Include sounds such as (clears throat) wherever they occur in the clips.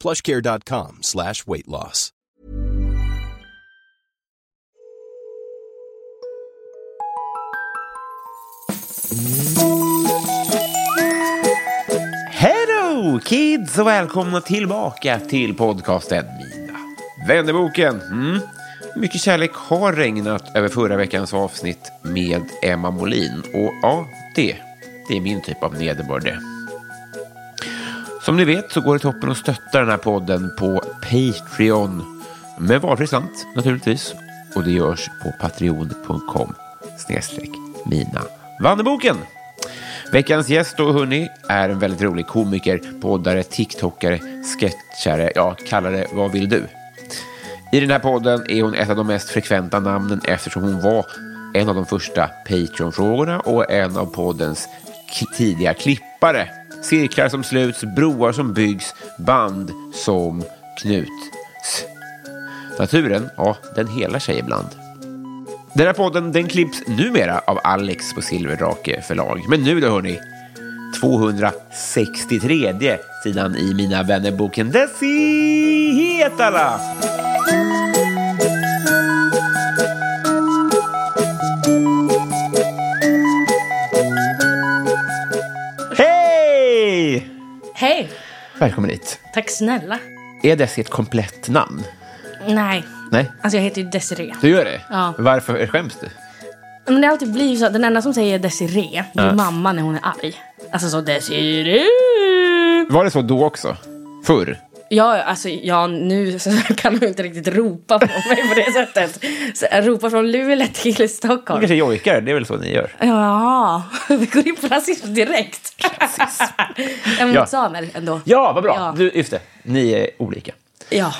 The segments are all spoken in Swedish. plushcare.com slash weight loss. Hello kids och välkomna tillbaka till podcasten Mina vännerboken. Mm. Mycket kärlek har regnat över förra veckans avsnitt med Emma Molin. Och ja, det, det är min typ av nederbörd det. Som ni vet så går det toppen att stötta den här podden på Patreon. Med valfri slant naturligtvis. Och det görs på patreon.com snedstreck mina Vanneboken. Veckans gäst då, hörni, är en väldigt rolig komiker, poddare, tiktokare, sketchare, ja, kalla det vad vill du. I den här podden är hon ett av de mest frekventa namnen eftersom hon var en av de första Patreon-frågorna och en av poddens k- tidiga klippare. Cirklar som sluts, broar som byggs, band som knuts. Naturen, ja, den helar sig ibland. Den här podden den klipps numera av Alex på Silverdrake förlag. Men nu då hörni, 263 sidan i Mina vännerboken. Desi Hetala! Hej! Hej! Välkommen hit. Tack snälla. Är Desi ett komplett namn? Nej. Nej? Alltså jag heter ju Desiree. Du gör det? Ja. Varför skäms du? Men det har alltid blivit så att den enda som säger Desiree, det är Ja. mamma när hon är arg. Alltså så Desiree. Var det så då också? Förr? Ja, alltså ja, nu (laughs) så kan hon inte riktigt ropa på mig på det sättet. Så jag ropar från Luleå till Ni Stockholm. kanske jojkar, det är väl så ni gör? Ja, (laughs) vi går in på rasism direkt. Ja, men Ja. Samuel ändå. Ja, vad bra! Ja. Du, just det, ni är olika. (laughs) Ja.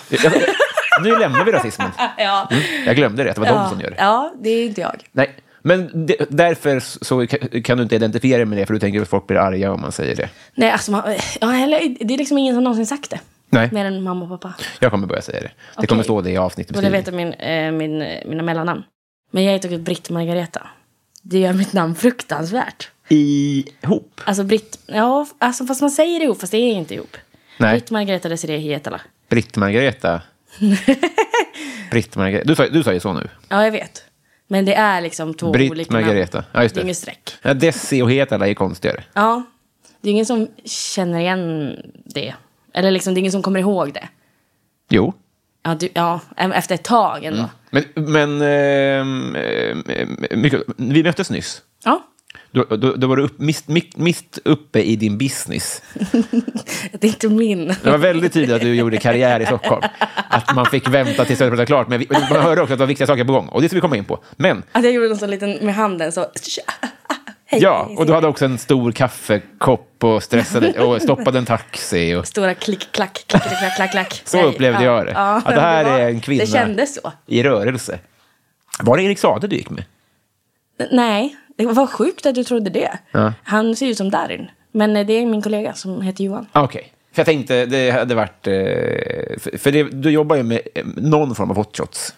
nu lämnar vi rasismen. (laughs) Ja. Jag glömde Mm. det, att det var de som gör det. Ja, det är inte jag. Nej, men det- därför så kan du inte identifiera dig med det, för du tänker att folk blir arga om man säger det. Nej, alltså man, ja, eller, det är liksom ingen som någonsin sagt det. Nej. Mer än mamma och pappa. Jag kommer börja säga det. Det kommer stå det i Och det avsnittbeskrivningen. vet jag min, eh, min, mina mellannamn. Men jag heter också Britt Margareta. Det gör mitt namn fruktansvärt. Ihop? Alltså Britt, ja, alltså fast man säger ihop, fast det är inte ihop. Nej, Britt Margareta Desirée Hietala. (laughs) Britt-Margareta. Britt-Margareta. Du, sa- du sa ju så nu. Ja, jag vet. Men det är liksom två Britt olika Margareta. namn. Ja, just det. är inget streck. Ja, Desi och Hetala är konstigare. Ja, det är ingen som känner igen det. Eller liksom, det är ingen som kommer ihåg det. Jo. Ja, du, ja em- efter ett tag ändå. Men, men ehm, ehm, mycket, vi möttes nyss. Ja, (laughs) Då, då, då var du upp, mist, mitt, mitt uppe i din business. det är inte min. Det var väldigt tydligt att du gjorde karriär i Stockholm. Att man fick vänta tills det var klart. Men vi, man hörde också att det var viktiga saker på gång. Och det ska vi komma in på. Men, Att jag gjorde en sån liten med handen så. (laughs) Hej, ja, hej, och du hade också en stor kaffekopp och stressade och stoppade en taxi. Och, Stora klick, klack, klack, klack, klack, klack. Så Nej, upplevde ja, jag det. ja, att det här var- är en kvinna Det kändes så. i rörelse. Var det Erik Saade du gick med? N- Nej, det var sjukt att du trodde det. Ja. Han ser ut som Darin. Men eh, det är min kollega som heter Johan. Ah, Okej. För jag tänkte, det hade varit... eh, För för det, du jobbar ju med eh, någon form av hotshots.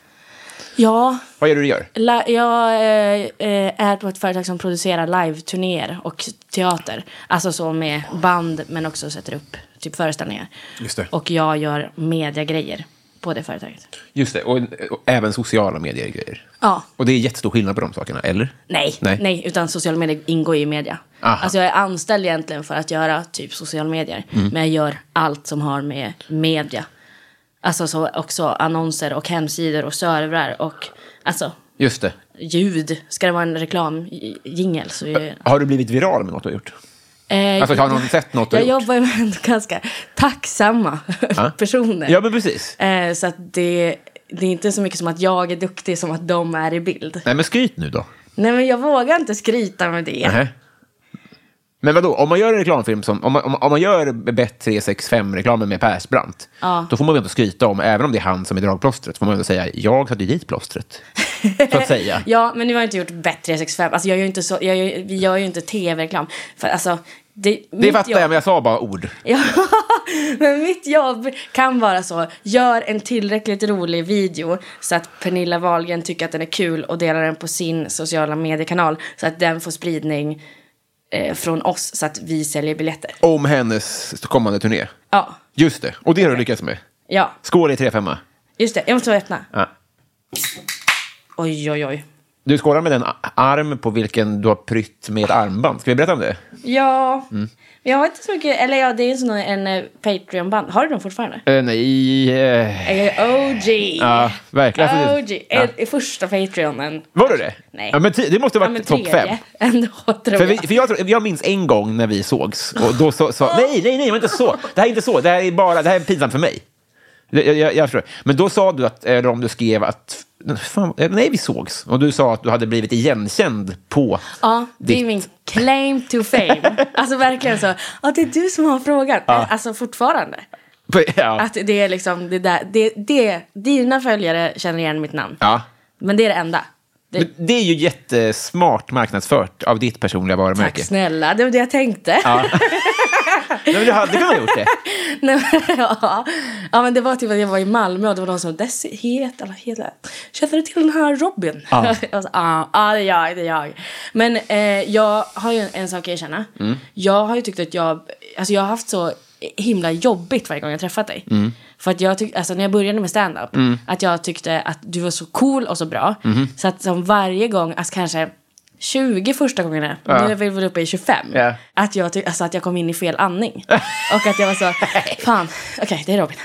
Ja, Vad är det du gör? la, jag eh, eh, är på ett företag som producerar live-turnéer och teater. Alltså så med band men också sätter upp typ föreställningar. Just det. Och jag gör mediagrejer på det företaget. Just det, och, och även sociala medier-grejer. Ja. Och det är jättestor skillnad på de sakerna, eller? Nej, Nej. nej. utan sociala medier ingår ju i media. Aha. Alltså jag är anställd Mm. egentligen för att göra typ sociala medier. Men jag gör allt som har med media Alltså så också annonser och hemsidor och servrar och alltså Just det. ljud. Ska det vara en reklamjingel så är Har du blivit viral med något du har gjort? Eh, Alltså, har någon sett något du Jag har gjort? jobbar ju med ändå ganska tacksamma personer. Ja, men precis. eh, så att det, det är inte så mycket som att jag är duktig som att de är i bild. Nej, men skryt nu då. Nej, men jag vågar inte skryta med det. Nähä. Men vadå, om man gör en reklamfilm som, om man, om, om man gör Bet 365-reklamen med Persbrandt, då får man väl ändå skryta om, även om det är han som är dragplåstret, får man väl säga, jag satte dit plåstret. Så att säga. (laughs) Ja, men nu har jag inte gjort bättre 65. Alltså, jag gör ju inte så, jag gör, vi gör ju inte tv-reklam. För, alltså, det Det mitt fattar jag, men jag sa bara ord. Ja, men (laughs) mitt jobb kan vara så. Gör en tillräckligt rolig video så att Pernilla Wahlgren tycker att den är kul och delar den på sin sociala mediekanal så att den får spridning eh, från oss så att vi säljer biljetter. Om hennes kommande turné. Ja, Just det, och det har du lyckats med. ja, Skål i 3-5. just det. Jag måste öppna. Ja. Oj, oj, oj. Du skålar med den a- arm på vilken du har prytt med ett armband. Ska vi berätta om det? Ja, Mm. men jag har inte så mycket. Eller ja, det är en sån en eh, Patreon-band. Har du dem fortfarande? Eh, nej... eh, Jag är OG. ja, verkligen. Alltså, det- OG. ja. Eh, Första Patreonen. Var du det? Nej. Ja, men ti- det måste ha Ja, varit men topp fem. tredje (laughs) ändå, tror För, vi, jag. för jag, tror- jag minns en gång när vi sågs och då sa sa- nej, nej, nej, det var inte så. Det här är inte så, det här är bara, det här är pinsamt för mig. Jag, jag- jag, jag förstår. Men då sa du att, eh, eller om du skrev att, fan, eh, nej, vi sågs. Och du sa att du hade blivit igenkänd på Ja, det är min claim (laughs) to fame. Alltså verkligen så. Ja, det är du som har frågan. Alltså fortfarande. på- (laughs) ja. Att det är liksom det där. Det, det, dina följare känner igen mitt namn. ja. Men det är det enda. Det, Men Det är ju jättesmart marknadsfört av ditt personliga varumärke. tack snälla, det var det jag tänkte. Ja. Nej, men du hade kunnat gjort det. Nej, men, (laughs) ja. ja, men det var typ att jag var i Malmö och det var någon som Desi, heter, eller heter, känner du till den här Robin? (laughs) Ja, alltså, ja, ja det är jag, det är jag. Men eh, jag har ju en, en sak att erkänna. Jag har ju tyckt att jag, alltså jag har haft så himla jobbigt varje gång jag träffat dig. För att jag tyckte, alltså när jag började med stand-up, att jag tyckte att du var så cool och så bra. Så att som varje gång, alltså kanske 20 första gångerna, nu är vi väl uppe i 25. Ja. Att, jag ty- alltså att jag kom in i fel andning. Och att jag var så, fan, okej det är Robin.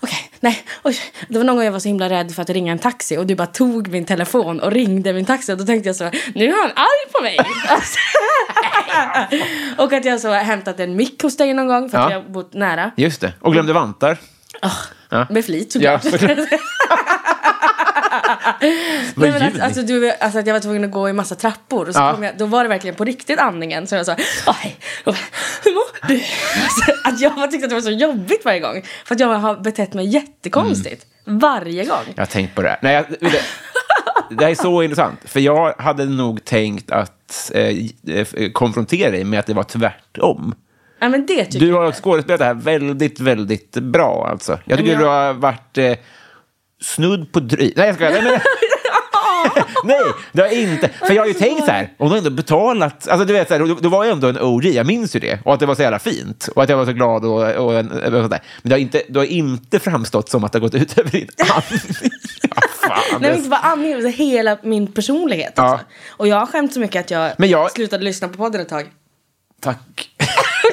Okej, nej, oj. Det var någon gång jag var så himla rädd för att ringa en taxi och du bara tog min telefon och ringde min taxi. Och då tänkte jag så, nu är han arg på mig. (laughs) Alltså. och att jag så har hämtat en mick hos dig någon gång för att Ja. jag har bott nära. Just det, och glömde vantar. Med flit såklart. Ja, (laughs) såklart. Nej, Vad men ljud. alltså, alltså, du, alltså att jag var tvungen att gå i massa trappor och så Ja. kom jag, då var det verkligen på riktigt andningen så jag sa "Ja, hej, Och bara, hur mår du? (laughs) Alltså, att jag bara tyckte att det var så jobbigt varje gång för att jag har betett mig jättekonstigt Mm. varje gång. Jag har tänkt på det här. Nej, jag, vet du, det här är så intressant. För jag hade nog tänkt att eh, eh, konfrontera dig med att det var tvärtom. Ja men det tycker Du har skådespelat det här väldigt, väldigt bra. Alltså. Jag tycker Men du jag- har varit eh, snudd på dry... Nej, jag skojar. (laughs) Nej, men... Nej, det har jag inte. För jag har ju tänkt så här, hon har ändå betalat. Alltså du vet, så här, du, du var ju ändå en OG, jag minns ju det. Och att det var så jävla fint. Och att jag var så glad och, och, en, och sånt där. Men det har inte, du har inte framstått som att det har gått ut (laughs) över din (laughs) andning. Ja, fan. Nej men inte bara andningen, utan hela min personlighet Ja. alltså. Och jag har skämt så mycket att jag, Men jag- slutade lyssna på podden ett tag. (laughs) Tack.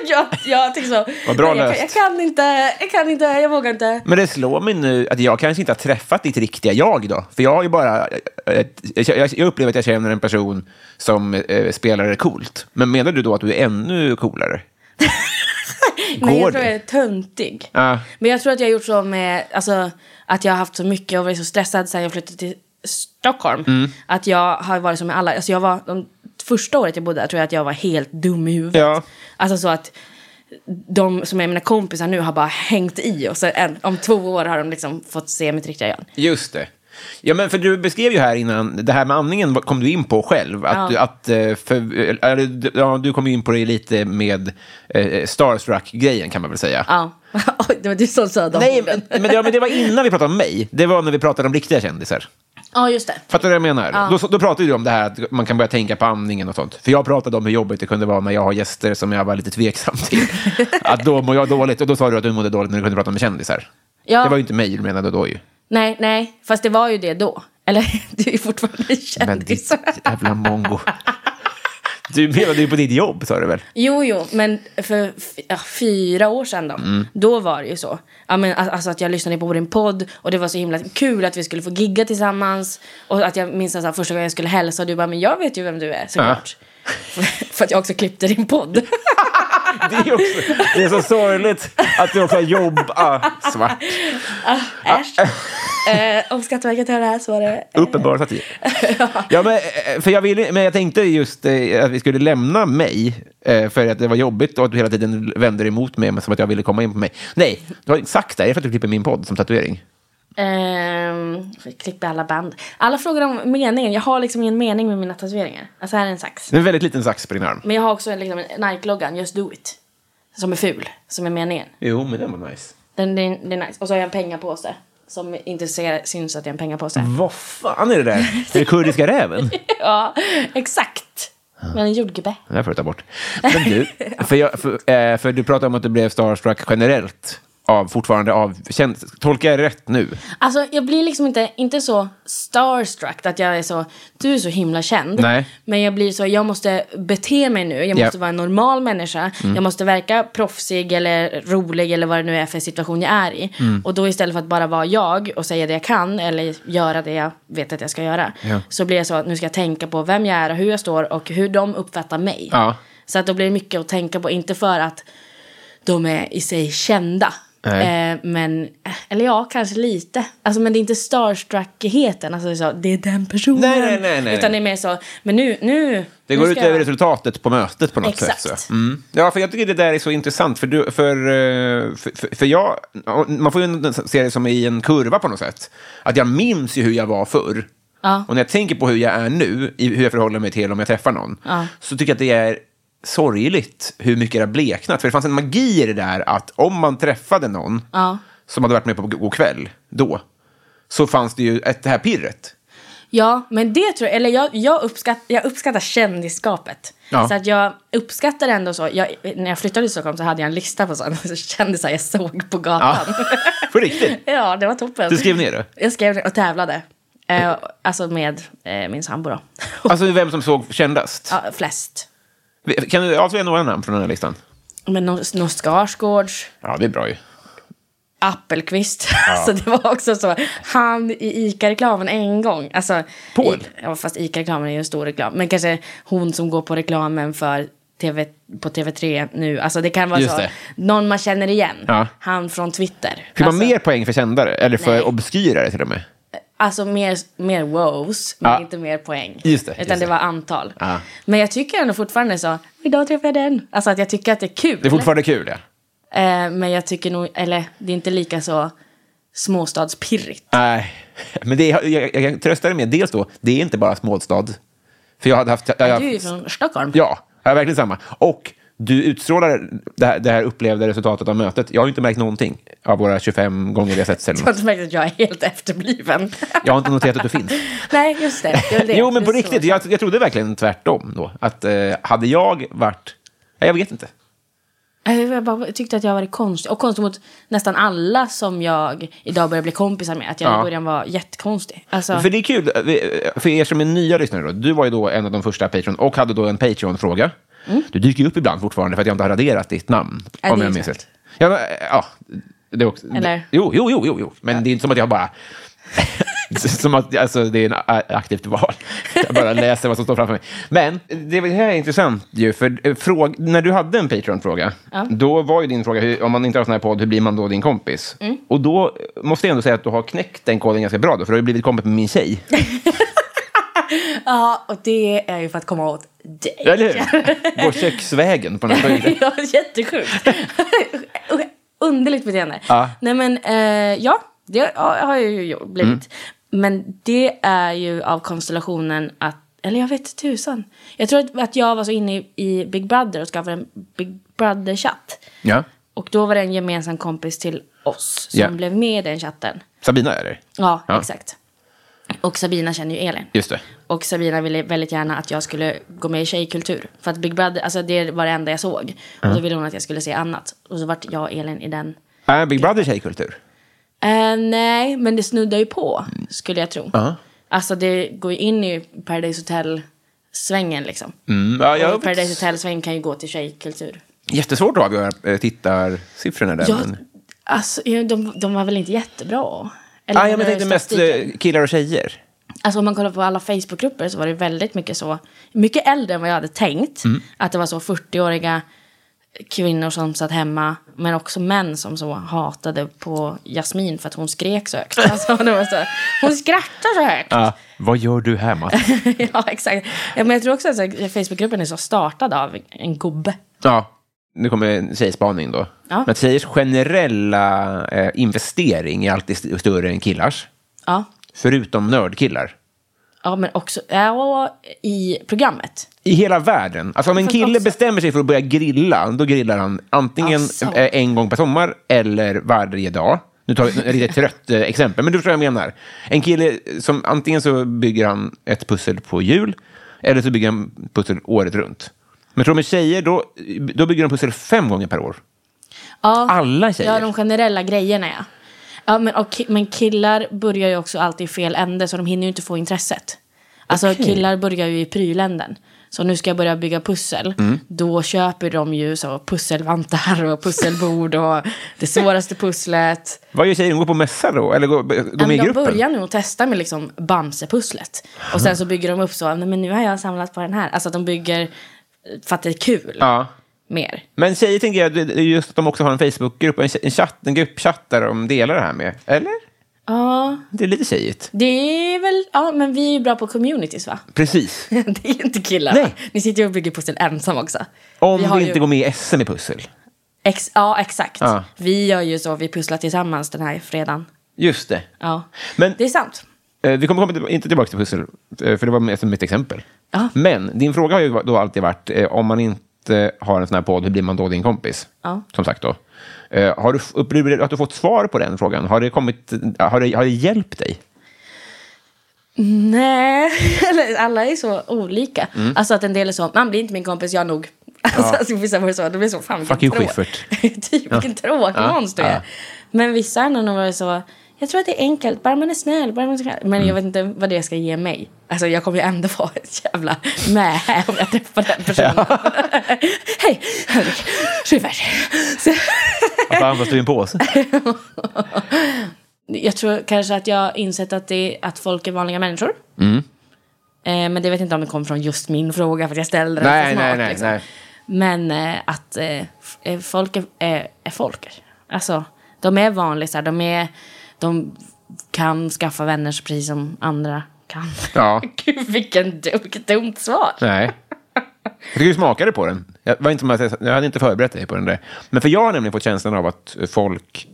jag, jag tycker så, Vad bra nej, jag, löst. kan- jag kan inte, jag kan inte, jag vågar inte. Men det slår mig nu att jag kanske inte har träffat ditt riktiga jag då. För jag har ju bara... eh, Jag jag upplever att jag känner en person som eh, spelar coolt. Men menar du då att du är ännu coolare? (laughs) Nej, Går jag tror det? jag är töntig. Ja. Men jag tror att jag har gjort så med, alltså, att jag har haft så mycket och varit så stressad sen jag flyttade till Stockholm. Mm. Att jag har varit så med alla, alltså jag var, de första året jag bodde där tror jag att jag var helt dum i huvudet. Ja. Alltså så att de som är mina kompisar nu har bara hängt i och så en, om två år har de liksom fått se mitt riktiga jag. Just det. Ja, men för du beskrev ju här innan, det här med andningen kom du in på själv. Att, du, att, eh, för, eller, du- ja, du kom ju in på det lite med eh, starstruck-grejen kan man väl säga. Ja, (laughs) Oj, det var du som sa de Nej, men, orden. men, det, men det var innan vi pratade om mig. Det var när vi pratade om riktiga kändisar. (laughs) Ja, just det. Fattar du vad jag menar? Då, då pratade du om det här att man kan börja tänka på andningen och sånt. För jag pratade om hur jobbigt det kunde vara när jag har gäster som jag var lite tveksam till. (laughs) att då mår jag dåligt. Och då sa du att du mådde dåligt när du kunde prata med kändisar. Ja. Det var ju inte mig du menade då ju. Nej, nej, fast det var (laughs) ju det då. Eller, du är fortfarande Men ditt kändis. jävla mongo. Du menade ju på ditt jobb, sa du väl? Jo, jo, men för f- ja, fyra år sedan då, då var det ju så. Ja, men, a- alltså att jag lyssnade på din podd och det var så himla kul att vi skulle få gigga tillsammans. Och att jag minns att första gången jag skulle hälsa och du bara, men jag vet ju vem du är såklart. (laughs) för att jag också klippte din podd. Det är, också, det är så sorgligt att du också har jobb... (laughs) Ah, svart. Äsch. eh, om Skatteverket hör det här så var det... Uppenbart att ja, men, eh, för jag ville, men jag tänkte just eh, att vi skulle lämna mig eh, för att det var jobbigt och att du hela tiden vände dig emot mig men som att jag ville komma in på mig. Nej, du har sagt det. Är det för att du klipper min podd som tatuering? Ehm, klipp i alla band. Alla frågar om meningen. Jag har liksom ingen mening med mina tatueringar. Alltså här är en sax. Det är en väldigt liten sax på din arm. Men jag har också en, liksom, en Nike-loggan, Just Do It. Som är ful, som är meningen. Jo, men den var nice. Den, den, den är nice. Och så har jag en pengapåse. Som inte ser, syns att jag har en pengapåse. Vad fan är det där? Är det kurdiska räven? ja, exakt. Men en jordgubbe. Den där får du ta bort. Men du, för, jag, för, eh, för du pratade om att du blev starstruck generellt av fortfarande av... Känns, tolkar jag rätt nu? Alltså jag blir liksom inte, inte så starstruck att jag är så, du är så himla känd. Nej. Men jag blir så, jag måste bete mig nu, jag måste Ja. Mm. vara en normal människa. Jag måste verka proffsig eller rolig eller vad det nu är för situation jag är i. Mm. Och då istället för att bara vara jag och säga det jag kan eller göra det jag vet att jag ska göra. Ja. Så blir jag så att nu ska jag tänka på vem jag är och hur jag står och hur de uppfattar mig. Ja. Så att då blir det mycket att tänka på, inte för att de är i sig kända. Nej. Eh, men, eh, eller ja, kanske lite. Alltså, men det är inte starstruckheten, alltså så, det är den personen. Nej, nej, nej, nej. Utan det är mer så, men nu, nu. Det nu går ut ska över jag- resultatet på mötet på något Exakt. sätt. Så. Mm. Ja, för jag tycker det där är så intressant. För, du, för, eh, för, för, för jag, man får ju en- se det som i en kurva på något sätt. Att jag minns ju hur jag var förr. Ja. Och när jag tänker på hur jag är nu, i hur jag förhåller mig till om jag träffar någon, Ja. så tycker jag att det är sorgligt hur mycket det har bleknat. För det fanns en magi i det där att om man träffade någon Ja. som hade varit med på God kväll då, så fanns det ju ett, det här pirret. Ja, men det tror jag, eller jag, jag, uppskatt, jag uppskattar kändisskapet. Ja. Så att jag uppskattar ändå så, jag, när jag flyttade till Stockholm så hade jag en lista på sådana (laughs) kändisar jag såg på Ja. gatan. på riktigt. (laughs) Ja, det var toppen. Du skrev ner det? Jag skrev det och tävlade. Eh, alltså med eh, min sambo då. (laughs) Alltså vem som såg kändast? ja, flest. Kan du avslöja några namn från den här listan? Men någon, någon Skarsgårds, Ja, det är bra ju. Appelqvist. (laughs) Alltså det var också så. Han i ICA-reklamen en gång. Alltså, Paul? I, ja, fast ICA-reklamen är ju en stor reklam. Men kanske hon som går på reklamen för TV, på TV3 nu. Alltså det kan vara Just så. det. Någon man känner igen. Ja. Han från Twitter. Fick alltså, man mer poäng för kändare? Eller för Nej. obskyrare till och med? Alltså mer, mer wows, men Ja. inte mer poäng. Just det, Utan just det. det var antal. Ja. Men jag tycker ändå fortfarande så, idag träffade jag den. Alltså att jag tycker att det är kul. Det är fortfarande kul, ja. Eh, men jag tycker nog, eller det är inte lika så småstadspirrigt. Nej, men det är, jag, jag kan trösta dig med, dels då, det är inte bara småstad. För jag hade haft... Jag, jag, Du är ju från Stockholm. Ja, jag är verkligen samma. Och du utstrålar det här, det här upplevda resultatet av mötet. Jag har ju inte märkt någonting av våra 25 gånger vi har (laughs) sett Jag har eller inte märkt att jag är (laughs) helt efterbliven. Jag har inte noterat att du finns. Nej, just det. det, var det. Jo, men på Det är så. riktigt, jag, jag trodde verkligen tvärtom då. Att eh, hade jag varit... Nej, jag vet inte. Eh, Jag bara tyckte att jag var konstig. Och konstig mot nästan alla som jag idag börjar bli kompisar med. Att jag Ja. i början var jättekonstig. Alltså, För det är kul, eh, för er som är nya lyssnare, då, du var ju då en av de första Patreon och hade då en Patreon-fråga. Du dyker ju upp ibland fortfarande för att jag inte har raderat ditt namn. Mm. Ja, om det är jag minns sant. rätt. Ja, men, eh, ja, det är också, Eller? Jo, jo, jo, jo, jo. men det är inte som att jag bara... (laughs) som att alltså, det är en a- aktivt val. Jag bara läser vad som står framför mig. Men det det här är intressant ju, för eh, fråg, när du hade en Patreon-fråga, då var ju din fråga, hur, om man inte har sån här podd, hur blir man då din kompis? Mm. Och då måste jag ändå säga att du har knäckt den koden ganska bra, då, för du har ju blivit kompis med min (laughs) tjej. ja, och det är ju för att komma åt dig. Eller hur? Går köksvägen på den här (laughs) punkten. ja, jättesjukt. (laughs) Underligt beteende. Ja. Nej men, eh, ja, det har jag ju gjort- blivit. Mm. Men det är ju av konstellationen att, eller jag vet tusan. Jag tror att, att jag var så inne i, i Big Brother och skaffade en Big Brother-chatt. Ja. Och då var det en gemensam kompis till oss som Ja. blev med i den chatten. Sabina är det? Ja, Ja. exakt. Och Sabina känner ju Elin. Just det. Och Sabina ville väldigt gärna att jag skulle gå med i tjejkultur. För att Big Brother, alltså det var det enda jag såg. Och Mm. då ville hon att jag skulle se annat. Och så vart jag och Elin i den. Är Big Brother tjejkultur? Eh, nej, men det snuddar ju på, skulle jag tro. Ja. Alltså det går ju in i Paradise Hotel svängen liksom. Mm, ja, Ja, jag, Paradise Hotel-svängen kan ju gå till tjejkultur. jättesvårt att avgöra eh, tittarsiffrorna där. Ja, men... Ah, alltså, ja, de, de var väl inte jättebra? Eller Ah, ja, men vad jag är tänkte mest statistiken? eh, killar och tjejer. Alltså om man kollar på alla Facebookgrupper så var det väldigt mycket så, mycket äldre än vad jag hade tänkt. Att det var så 40-åriga kvinnor som satt hemma, men också män som så hatade på Jasmin för att hon skrek så högt. Alltså, det var så här, hon skrattar så högt! Ah, vad gör du här, Mats? (laughs) ja, exakt. Ja, men jag tror också att så här, Facebookgruppen är så startad av en gubbe. (laughs) Ja, nu kommer en tjejspaning då. Ja. Men tjejers generella eh, investering är alltid st- större än killars. Ja, Förutom nördkillar. ja men också ja, i programmet. I hela världen. Alltså om en Fast kille också- bestämmer sig för att börja grilla, då grillar han antingen Alltså. eh, en gång per sommar eller varje dag. Nu tar jag ett lite trött eh, exempel, men du förstår vad jag menar. En kille som antingen så bygger han ett pussel på jul, eller så bygger han pussel året runt. Men tror du med tjejer, då, då bygger de pussel fem gånger per år. Ja. Alla tjejer. Ja, de generella grejerna ja. ja men, och, ki- men killar börjar ju också alltid i fel ände så de hinner ju inte få intresset. Alltså killar börjar ju i pryländen. Så nu ska jag börja bygga pussel. Mm. Då köper de ju så pusselvantar och pusselbord och det svåraste pusslet. Vad gör tjejer? Går på mässa då? Eller går, går Ja, med i men de gruppen? börjar nu att testa med liksom Bamse-pusslet. Och sen så bygger de upp så, "Nej, men nu har jag samlat på den här. Alltså att de bygger för att det är kul Ja. mer. Men tjejer tänker jag, det är just att de också har en Facebookgrupp, en, en, chatt, en gruppchatt där de delar det här med. Eller? Ja, Det är lite tjejigt. det är väl, ja men vi är ju bra på communities va? Precis. (laughs) Det är inte killar. Nej. Ni sitter ju och bygger pussel ensam också. Om har du inte ju går med i SM i pussel. Ex ja, exakt. Ja. Vi gör ju så, vi pusslar tillsammans den här fredagen. Just det. Ja. Men Det är sant. eh, vi kommer komma till, inte tillbaka till pussel, eh, för det var med- mitt exempel. Ja. Men din fråga har ju då alltid varit, eh, om man inte har en sån här podd, hur blir man då din kompis? Ja. Som sagt då. Eh, Har du, f- upplever du att du fått svar på den frågan? Har det, kommit, eh, har det, har det hjälpt dig? Nej, (laughs) Eller, alla är så olika. Mm. Alltså att en del är så, man blir inte min kompis, jag nog. (laughs) Alltså, alltså vissa var det så, det blir så, fan vilken Fuck you, trå- Schyffert. (laughs) typ vilken tråkig Ja. monster jag är. Ja. Men vissa har nog varit så, jag tror att det är enkelt, bara man är snäll, bara man är snäll. Men Mm. jag vet inte vad det ska ge mig. Alltså jag kommer ju ändå (laughs) vara ett jävla med om jag träffar den personen. (laughs) Hej, Henrik Schyffert. Så- Fan, vad står i en (laughs) påse? Jag tror kanske att jag har insett att, det, att folk är vanliga människor. Mm. Eh, men det vet jag inte om det kom från just min fråga för att jag ställde den Nej, så nej, smart, nej, liksom. nej. Men eh, att eh, f- eh, folk är, är, är folk. Alltså, de är vanliga. De, är, de kan skaffa vänner så precis som andra kan. (laughs) Ja. Gud, vilken dum, vilket dumt svar. Nej. Jag tycker du smakade på den. Jag, var inte som att jag, jag hade inte förberett dig på den där. Men för jag har nämligen fått känslan av att folk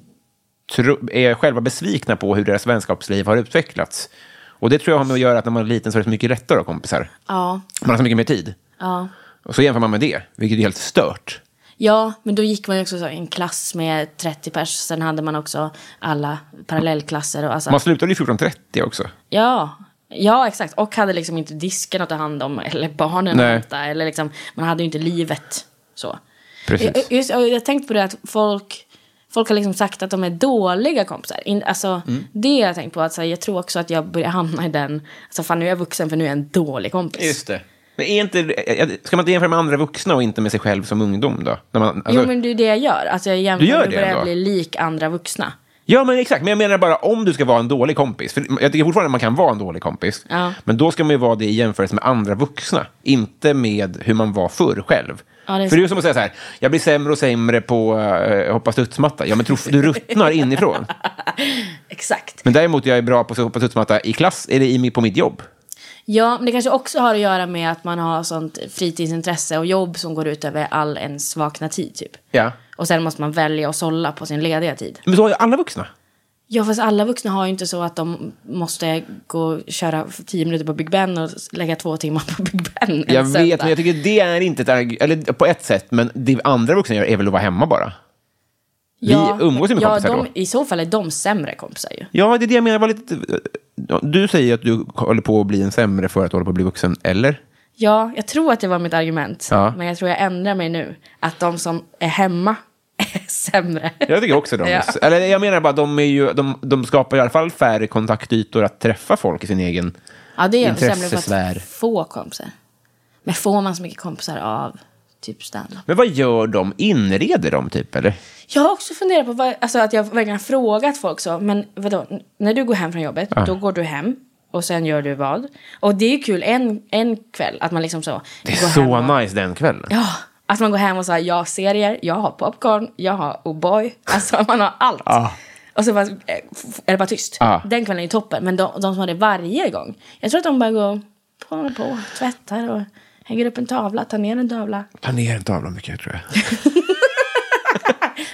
tro, är själva besvikna på hur deras vänskapsliv har utvecklats. Och det tror jag har med att göra att när man är liten så är det så mycket lättare att ha kompisar. Ja, Man har så mycket mer tid. ja. Och så jämför man med det, vilket är helt stört. Ja, men då gick man ju också så, i en klass med 30 pers. Sen hade man också alla parallellklasser. Och alltså, Man slutade ju 14.30 också. Ja. Ja, exakt. Och hade liksom inte disken att ta hand om eller barnen Nej. att hämta. Eller liksom, man hade ju inte livet så. Precis. Jag- Just, jag har tänkt på det att folk, folk har liksom sagt att de är dåliga kompisar. In, alltså, Mm. Det har jag tänkt på. Att, så här, jag tror också att jag börjar hamna i den... Alltså, fan, nu är jag vuxen för nu är jag en dålig kompis. det. Men är inte, ska man inte jämföra med andra vuxna och inte med sig själv som ungdom då? När man, alltså- jo, men det är ju det jag gör. Alltså, jag jämför, Du gör nu det börjar jag ändå? bli lik andra vuxna. Ja, men exakt. Men jag menar bara om du ska vara en dålig kompis. För jag tycker fortfarande att man kan vara en dålig kompis. Ja. Men då ska man ju vara det i jämförelse med andra vuxna. Inte med hur man var förr själv. Ja, det är för det är ju som att säga så här, jag blir sämre och sämre på uh, hoppa studsmatta. Ja, men tro, du ruttnar inifrån. Exakt. Men däremot jag är bra på att hoppa studsmatta i klass, eller i, på mitt jobb. Ja, men det kanske också har att göra med att man har sånt fritidsintresse och jobb som går ut över all ens vakna tid typ. Ja. Och sen måste man välja och sålla på sin lediga tid. Men så har ju alla vuxna. Ja, fast alla vuxna har ju inte så att de måste gå och köra tio minuter på Big Ben och lägga två timmar på Big Ben. en Jag söndag. vet, men jag tycker det är inte ett arg- Eller på ett sätt, men det andra vuxna gör är väl att vara hemma bara. vi umgås ju med ja, kompisar de, då. I så fall är de sämre kompisar ju. Ja, det är det jag menar. Var lite... ja, Du säger att du håller på att bli en sämre för att du håller på att bli vuxen, eller? Ja, jag tror att det var mitt argument. Ja. Men jag tror jag ändrar mig nu. Att de som är hemma (laughs) är sämre. Jag tycker också de. Ja. Eller jag menar bara, de, är ju, de, de skapar i alla fall färre kontaktytor att träffa folk i sin egen... Ja, det är ju sämre för Intressesfär. att få kompisar. Men får man så mycket kompisar av typ standup? Men vad gör de? Inreder de typ, eller? Jag har också funderat på vad, alltså att jag verkligen har frågat folk så. Men vadå, n- när du går hem från jobbet, då går du hem och sen gör du vad? Och det är ju kul en, en kväll att man liksom så. Det är så nice den kvällen. Ja, att man går hem och så här, jag har serier, jag har popcorn, jag har O'boy. (laughs) Alltså man har allt. Och så bara, eh, f- f- är det bara tyst. Ja. Den kvällen är ju toppen. Men de, de som har det varje gång. Jag tror att de bara går på och på, tvättar och hänger upp en tavla, tar ner en tavla, Planera inte avlan mycket, tror jag.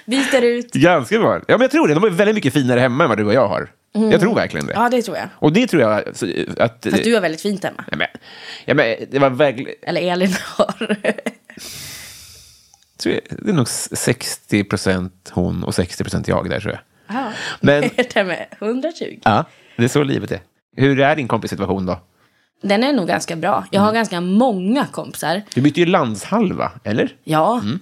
byter ut. Ganska bra. Ja, men jag tror det. De är väldigt mycket finare hemma än vad du och jag har. Jag tror verkligen det. Mm. Ja, det tror jag. Och det tror jag så, att... Fast du har väldigt fint hemma. Ja, men, ja, men, det var verkligen... Eller Elin har. tror jag- Det är nog 60 procent hon och 60 procent jag där, tror jag. Ja. Men- (laughs) Det här med 120. Ja. Det är så livet är. Hur är din kompis situation då? Den är nog ganska bra. Jag har Mm. ganska många kompisar. Du bytte ju landshalva, eller? Ja. Mm.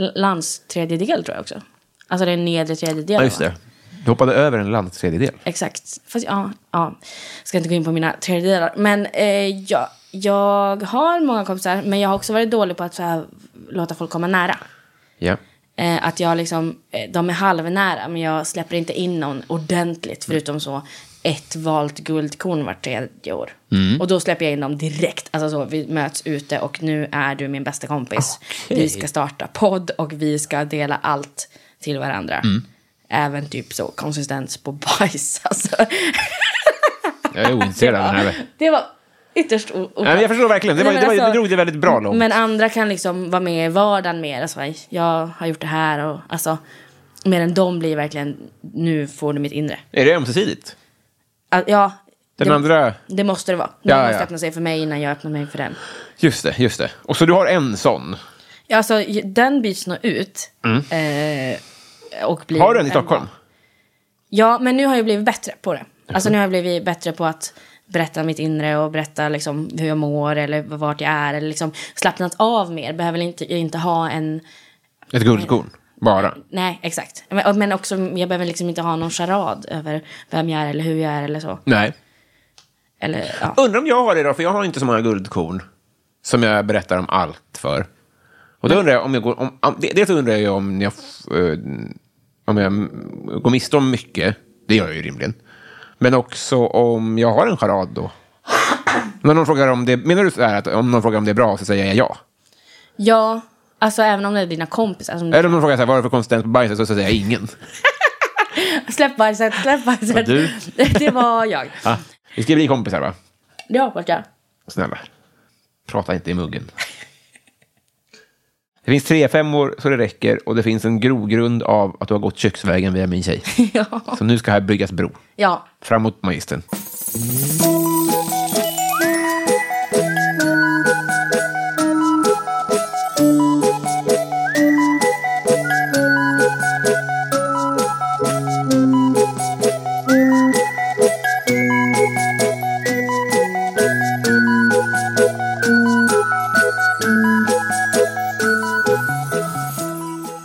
L- Lands tredjedel tror jag också. Alltså den nedre tredjedelen. Ja, just va? det. Du hoppade över en landstredjedel. Exakt. Fast ja, ja. Ska inte gå in på mina tredjedelar. Men eh, jag, jag har många kompisar. Men jag har också varit dålig på att så här, låta folk komma nära. Ja. Eh, att jag liksom, eh, de är halvnära men jag släpper inte in någon ordentligt förutom så ett valt guldkorn vart tredje år. Mm. Och då släpper jag in dem direkt. Alltså så, vi möts ute och nu är du min bästa kompis. Vi ska starta podd och vi ska dela allt till varandra. Mm. Även typ så konsistens på (laughs) bajs. Alltså, Jag är ointresserad av den här. Nej, det var ytterst o- oklart. men jag förstår verkligen. Det, var, Nej, men det, var, alltså- det drog det väldigt bra långt. men andra kan liksom vara med i vardagen mer. Alltså, jag har gjort det här och alltså. Mer än de blir verkligen, nu får du mitt inre. Är det ömsesidigt? Al- ja. Den det, andra... Det måste det vara. Någon Ja, ja. måste öppna sig för mig innan jag öppnar mig för den. Just det, just det. Och så du har en sån. Ja, Alltså, j- den byts nog ut. Eh, och blir Mm. Har du en i en- Stockholm? Ja, men nu har jag blivit bättre på det. Alltså nu har jag blivit bättre på att berätta mitt inre och berätta liksom hur jag mår eller vart jag är. Eller liksom slappnat av mer. Behöver inte, inte ha en Ett guldkorn? Bara? Nej, exakt. Men, men också, jag behöver liksom inte ha någon charad över vem jag är eller hur jag är eller så. Nej. Eller, ja. Undrar om jag har det då, för jag har inte så många guldkorn som jag berättar om allt för. Och då undrar jag om jag går... Om, om, det- dels undrar jag om jag, f- eh, om jag mm, går miste om mycket. Det gör jag ju rimligen. Men också om jag har en charad då. När någon frågar om det... Menar du så här att om någon frågar om det är bra så säger jag ja? ja, alltså även om det är dina kompisar. Som Eller om någon frågar så här, vad är det för konsistens på bajset så säger jag ingen. Släpp bajset, släpp bajset. du? (laughs) det var jag. Ah, Vi ska bli kompisar va? Det hoppas jag. Snälla, prata inte i muggen. Det finns tre femmor så det räcker och det finns en grogrund av att du har gått köksvägen via min tjej. ja. Så nu ska här byggas bro. ja. Framåt magistern.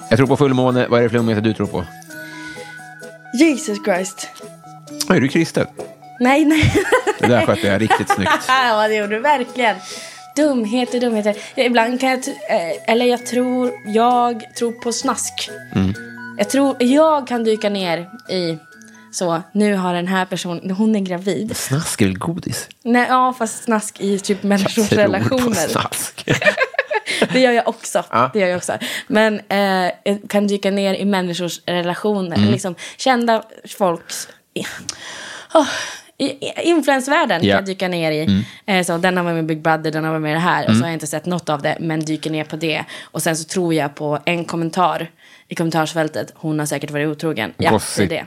Jag tror på fullmåne. Vad är det flummigaste du tror på? Jesus Christ. Är du kristen? Nej, nej. (laughs) Det där skötte jag riktigt snyggt. ja, det gjorde du verkligen. Dumheter, dumheter. Ja, Ibland kan jag... tr- eh, Eller jag tror... Jag tror på snask. Mm. Jag tror... Jag kan dyka ner i... Så, nu har den här personen... Hon är gravid. Snask eller godis? Nej, ja, fast snask i typ människors Tror på (laughs) relationer. snask. Det gör jag också. Ja. Det gör jag också. Men eh, jag kan dyka ner i människors relationer. Mm. Liksom, kända folks... i- Oh, i- i- Influensvärlden Ja. Mm. kan jag dyka ner i. Eh, så, den har varit med i Big Brother, den har varit med i det här. Och så har jag inte sett något av det, men dyker ner på det. Och sen så tror jag på en kommentar i kommentarsfältet. Hon har säkert varit otrogen. Ja, Gossip. det är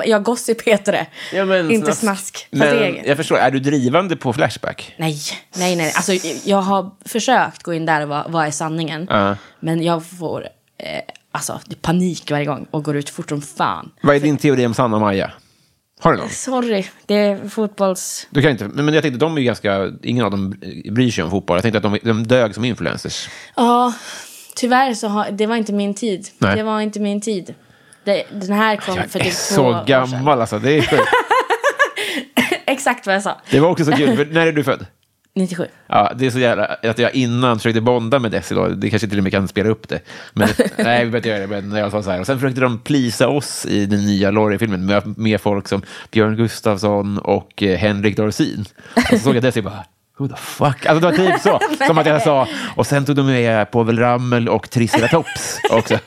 det. Ja, gossip heter det. inte snask. Fast det är- Men jag förstår, är du drivande på Flashback? Nej, nej, nej. Alltså, jag har försökt gå in där och vara, vad är sanningen? Ja. Men jag får eh, alltså, det är panik varje gång och går ut fort som fan. Vad är din teori om Sanna och Maja? Har du någon? Sorry, det är fotbolls... Du kan inte, men men jag tänkte, de är ju ganska, ingen av dem bryr sig om fotboll. Jag tänkte att de, de dög som influencers. Ja, tyvärr så har, det var inte min tid. Nej. Det var inte min tid. Det, den här kom Jag för typ är två så år sedan. gammal alltså, det är sjukt. Exakt vad jag sa. Det var också så kul, för när är du född? 97. Ja, det är så jävla, att jag innan försökte bonda med Desi då, det kanske till och med kan spela upp det. (laughs) Men, nej, vi behöver inte göra det, men jag sa så här. Och sen försökte de plisa oss i den nya Lorry-filmen med, med folk som Björn Gustafsson och eh, Henrik Dorsin. Och så såg jag Desi bara, who the fuck? Alltså det var typ (laughs) så, som att jag sa. Och sen tog de med Povel Ramel och Triceratops (laughs) också.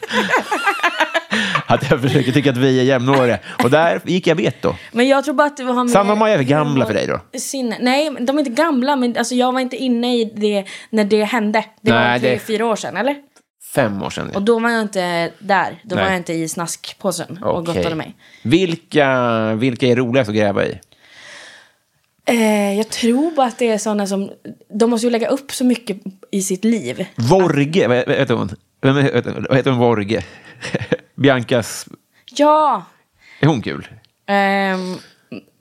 Att jag försöker tycka att vi är jämnåriga. Och där gick jag bet då. Men jag tror bara att det har med... Sanna och Maja är för gamla för dig då? Sinne. Nej, de är inte gamla, men alltså, jag var inte inne i det när det hände. Det Nej, var tre, det- fyra år sedan, eller? Fem år sedan. Och då var jag inte där. Då Nej. var jag inte i snaskpåsen och Okej. gottade mig. Vilka, vilka är roligast att gräva i? Eh, jag tror bara att det är sådana som... De måste ju lägga upp så mycket i sitt liv. Vorge, vad vad heter hon? Vem är- heter hon? Vad heter hon Vorge? (laughs) Biancas, Ja! är hon kul? Ehm,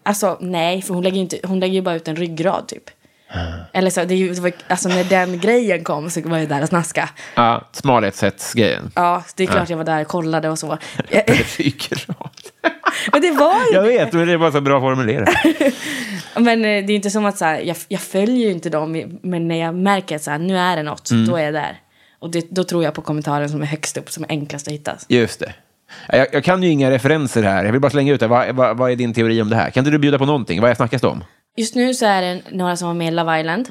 alltså, nej, för hon lägger ju, inte, hon lägger ju bara ut en ryggrad typ. Eller så, det, är ju- det var, alltså när den grejen kom så var jag där och snaska. Ja, smalhetssättsgrejen. Ja, det är klart jag var där och kollade (laughs) och så. Ryggrad. Men det var ju Jag vet, men det är bara så bra formulerat. Men eh, det är ju inte som att så här, jag, jag följer ju inte dem, i- men när jag märker att så här, nu är det något, då är jag där. Och det, då tror jag på kommentaren som är högst upp, som är enklast att hitta. Just det. Jag, jag kan ju inga referenser här. Jag vill bara slänga ut det. Vad, vad, vad är din teori om det här? Kan inte du bjuda på någonting? Vad snackas det om? Just nu så är det några som var med i Love Island,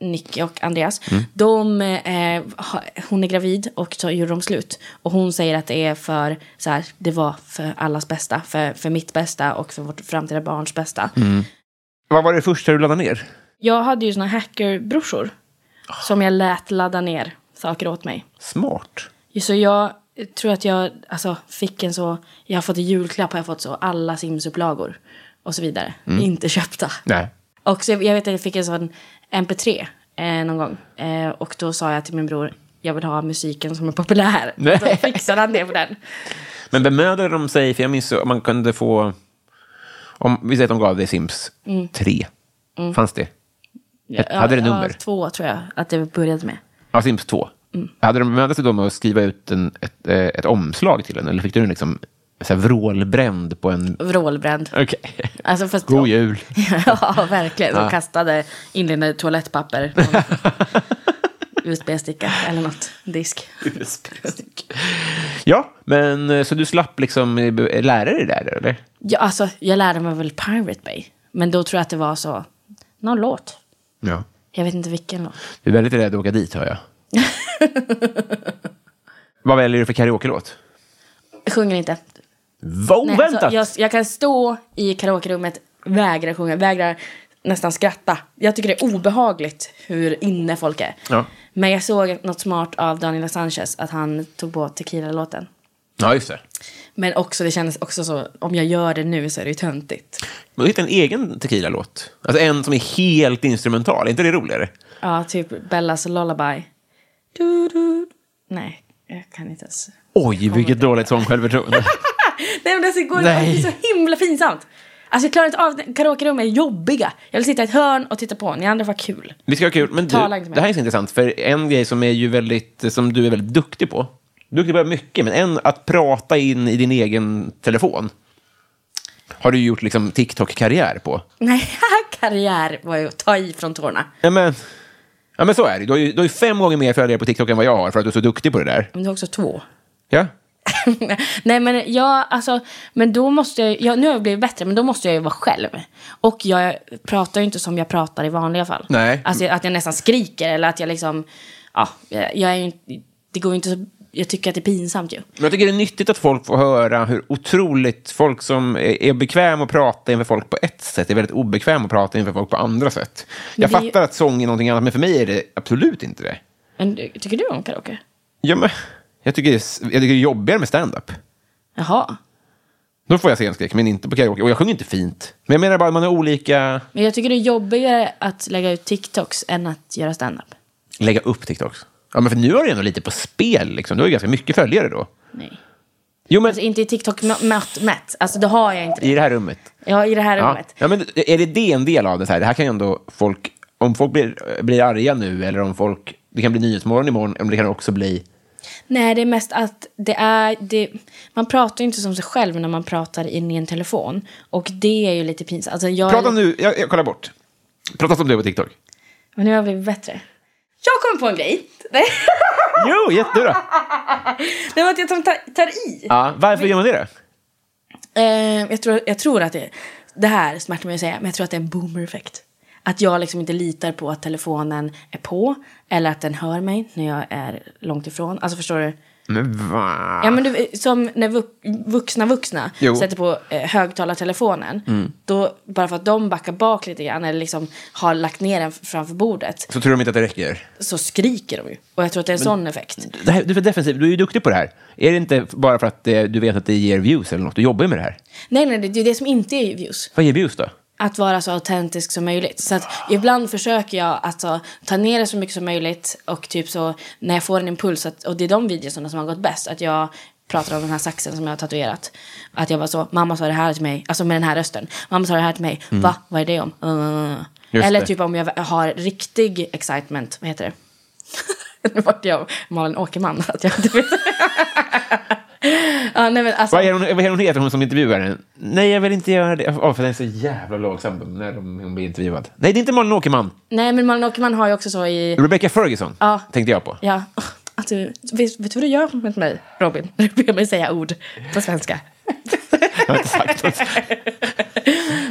Nicky och Andreas. De, eh, ha- hon är gravid och så gjorde de slut. Och hon säger att det är för, så här, det var för allas bästa, för, för mitt bästa och för vårt framtida barns bästa. Vad var det första du laddade ner? Jag hade ju såna hackerbrorsor som jag lät ladda ner saker åt mig. Smart. Så jag tror att jag alltså, fick en så... Jag har fått i julklapp har jag fått så alla Sims-upplagor och så vidare. Inte köpta. Mm. Nej. Och så, jag vet att jag fick en sån MP3 eh, någon gång. Eh, och då sa jag till min bror, jag vill ha musiken som är populär. (laughs) Nej. Då fixade han det på den. Men bemödade de sig? För jag minns att man kunde få... Om, vi säger att de gav dig Sims 3. Fanns det? Ett- Hade det Ja, nummer? Ja, två tror jag att det började med. Ja, Sims 2. Mm. Hade de bemödat sig då med att skriva ut en, ett, eh, ett omslag till den? Eller fick du den liksom så här vrålbränd på en... Vrålbränd. Okej. Alltså, fast, (laughs) God jul. (laughs) ja, verkligen. De kastade inledande toalettpapper. (laughs) någon USB-sticka eller något. Disk. ja, men eh, så du slapp liksom eh, be- lära dig det där, eller? Ja, alltså, jag lärde mig väl Pirate Bay. Men då tror jag att det var så, någon låt. Ja. Jag vet inte vilken låt. Du är väldigt rädd att åka dit, hör jag. (laughs) Vad väljer du för karaoke-låt? Jag sjunger inte. Vad Nej, oväntat! alltså, jag, jag kan stå i karaokerummet, vägra sjunga, vägra nästan skratta. Jag tycker det är obehagligt hur inne folk är. Ja. Men jag såg något smart av Daniel Sanchez, att han tog bort Tequila-låten. Ja, just det. Men också, det kändes också så, om jag gör det nu så är det ju töntigt. Men hitta en egen tequila-låt. Alltså en som är helt instrumental. Är inte det roligare? Ja, typ Bellas Lullaby. Du, du. Nej, jag kan inte ens. Oj, vilket dåligt sångsjälvförtroende. Nej men alltså, det går inte. Nej. Det är så himla pinsamt. Alltså jag klarar inte av det. Karaokerum är jobbiga. Jag vill sitta i ett hörn och titta på. Ni andra var kul. (laughs) Vi ska ha kul. Men du, Tala inte med det här är så intressant, för en grej som, är ju väldigt, som du är väldigt duktig på, duktig på mycket, men en, att prata in i din egen telefon, har du gjort liksom TikTok-karriär på. Nej, karriär var ju att ta i från tårna. Ja, men, ja, men så är det. Du har, ju, du har ju fem gånger mer följare på TikTok än vad jag har, för att du är så duktig på det där. Men du har också två. Ja? (laughs) Nej men jag, alltså, men då måste jag, jag, nu har jag blivit bättre, men då måste jag ju vara själv. Och jag pratar ju inte som jag pratar i vanliga fall. Nej. Alltså att jag nästan skriker eller att jag liksom, ja, jag är ju, inte- det går ju inte så, jag tycker att det är pinsamt ju. Men jag tycker det är nyttigt att folk får höra hur otroligt folk som är är bekväma att prata inför folk på ett sätt är väldigt obekväma att prata inför folk på andra sätt. Jag det är ju- fattar att sång är någonting annat, men för mig är det absolut inte det. Men du- tycker du om karaoke? Ja, men, jag, tycker det är, s- jag tycker det är jobbigare med stand-up. Jaha. Då får jag scenskräck, men inte på karaoke. Och jag sjunger inte fint. Men jag menar bara att man har olika... Men jag tycker det är jobbigare att lägga ut TikToks än att göra standup. Lägga upp TikToks. Ja, men för nu har du ändå lite på spel. Liksom. Du har ju ganska mycket följare då. Nej. Jo, men Alltså inte i TikTok mä- mätt, mätt. Alltså det har jag inte. i det här rummet. Ja, i det här Ja. rummet. ja, men är det det en del av det? Så här? Det här kan ju ändå folk... Om folk blir, blir arga nu eller om folk... Det kan bli Nyhetsmorgon imorgon, men det kan också bli... Nej, det är mest att det är... Det, man pratar ju inte som sig själv när man pratar in i en telefon. Och det är ju lite pinsamt. Alltså jag är Prata lite- nu, jag, jag kollar bort. Prata som du på TikTok. Men nu har jag blivit bättre. Jag kommer på en grej. (laughs) Nej, Ah! Jo, jätte- du då? det var att jag tar, tar i. Ja, varför gör man det då? Eh, jag, tror, jag tror att det, det här smärtar mig att säga, men jag tror att det är en boomer-effekt. Att jag liksom inte litar på att telefonen är på eller att den hör mig när jag är långt ifrån. Alltså förstår du? Men va? Ja, men du, som när vux- vuxna vuxna Jo. sätter på eh, högtalartelefonen. Då, bara för att de backar bak lite grann eller liksom har lagt ner den framför bordet Så tror de inte att det räcker. så skriker de ju. Och jag tror att det är en sån effekt. Det här, du är för defensiv, du är ju duktig på det här. Är det inte bara för att eh, du vet att det ger views eller något? Du jobbar ju med det här. Nej, nej, det det är det som inte är views. Vad ger views då? att vara så autentisk som möjligt. Så att ibland försöker jag att så, ta ner det så mycket som möjligt och typ så när jag får en impuls, att, och det är de videorna som har gått bäst, att jag pratar om den här saxen som jag har tatuerat. Att jag bara så, mamma sa det här till mig, alltså med den här rösten. Mamma sa det här till mig, va, vad är det om? Uh. Mm. Just Eller det. typ om jag har riktig excitement, vad heter det? (laughs) nu vart jag Malin Åkerman, (laughs) att jag inte vet. ja, nej, men alltså, Vad är hon, vad är hon heter, hon som intervjuar henne? Nej, jag vill inte göra det. Åh, för den är så jävla långsam när de, hon blir intervjuad. Nej, det är inte Malin Åkerman. nej, men Malin Åkerman har ju också så i... Rebecca Ferguson Ja. tänkte jag på. Ja. Att du, vet, vet du vad du gör med mig, Robin? (laughs) Du ber mig säga ord på svenska. Jag har inte sagt något.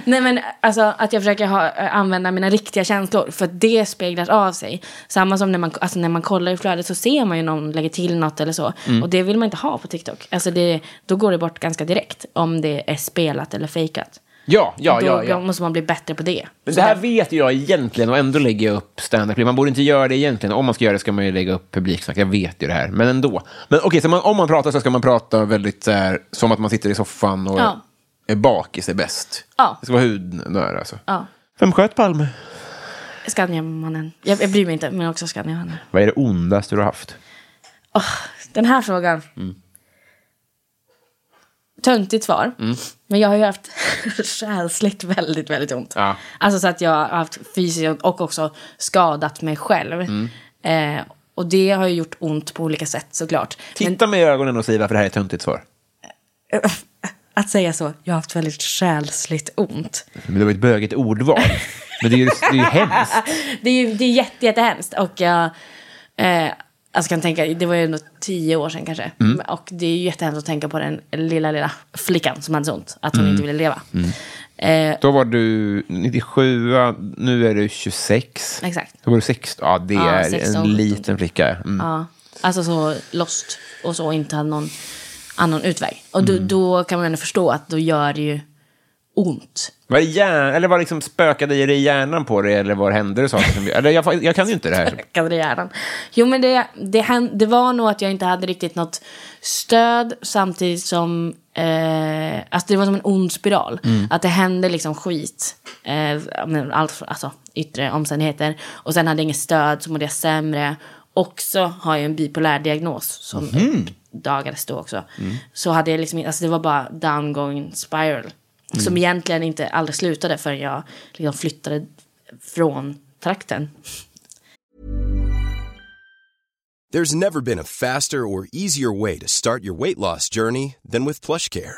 Nej men alltså att jag försöker ha, använda mina riktiga känslor för att det speglas av sig. Samma som när man, alltså, när man kollar i flödet så ser man ju någon lägger till något eller så. Och det vill man inte ha på TikTok. Alltså det, då går det bort ganska direkt om det är spelat eller fejkat. Ja, ja, då ja. ja. måste man bli bättre på det. Men det här vet ju jag egentligen och ändå lägger jag upp stand-up. Man borde inte göra det egentligen. Om man ska göra det ska man ju lägga upp publiksnack. Jag vet ju det här. Men ändå. Men okej, så man, om man pratar så ska man prata väldigt så här, som att man sitter i soffan och Ja. är bakis är bäst. Ja. Det ska vara hudnära alltså. Ja. Vem sköt Palme? Skandiamannen. Jag, jag bryr mig inte, men också Skandiamannen. Vad är det ondaste du har haft? Åh, den här frågan. Mm. Töntigt svar. Mm. Men jag har ju haft (laughs) själsligt väldigt, väldigt ont. Ja. Alltså så att jag har haft fysiskt ont och också skadat mig själv. Mm. Eh, och det har ju gjort ont på olika sätt såklart. Men Titta mig i ögonen och säg varför det här är ett töntigt svar. (laughs) att säga så, jag har haft väldigt själsligt ont. Men det var ett bögigt (laughs) ordval. Men det är ju, det är ju hemskt. Det är ju det är jätte, jättehemskt. Och jag eh, alltså kan tänka, det var ju ändå tio år sedan kanske. Och det är ju jättehemskt att tänka på den lilla, lilla flickan som hade så ont. Att hon inte ville leva. Eh, Då var du 97, nu är du 26. Exakt. Då var du 16. Ja, det Ja, är 16, en 17. liten flicka. Mm. ja. Alltså så lost och så inte hade någon annan utväg. Och då, då kan man ändå förstå att då gör det ju ont. Var det hjärn, eller var liksom spökade i dig hjärnan på det eller var hände det saker som... Eller jag, jag kan ju inte det (laughs) här. Ökade det hjärnan. Jo men det, det, hän- det var nog att jag inte hade riktigt något stöd samtidigt som eh, alltså det var som en ond spiral. Att det hände liksom skit. Eh, ja, men allt, alltså yttre omständigheter. Och sen hade jag inget stöd så mådde jag sämre. Också har jag en bipolär diagnos som uppdagades då också. Så hade jag liksom, alltså det var bara downgoing spiral. Som egentligen inte aldrig slutade förrän jag liksom flyttade från trakten. There's never been a faster or easier way to start your weight loss journey than with PlushCare.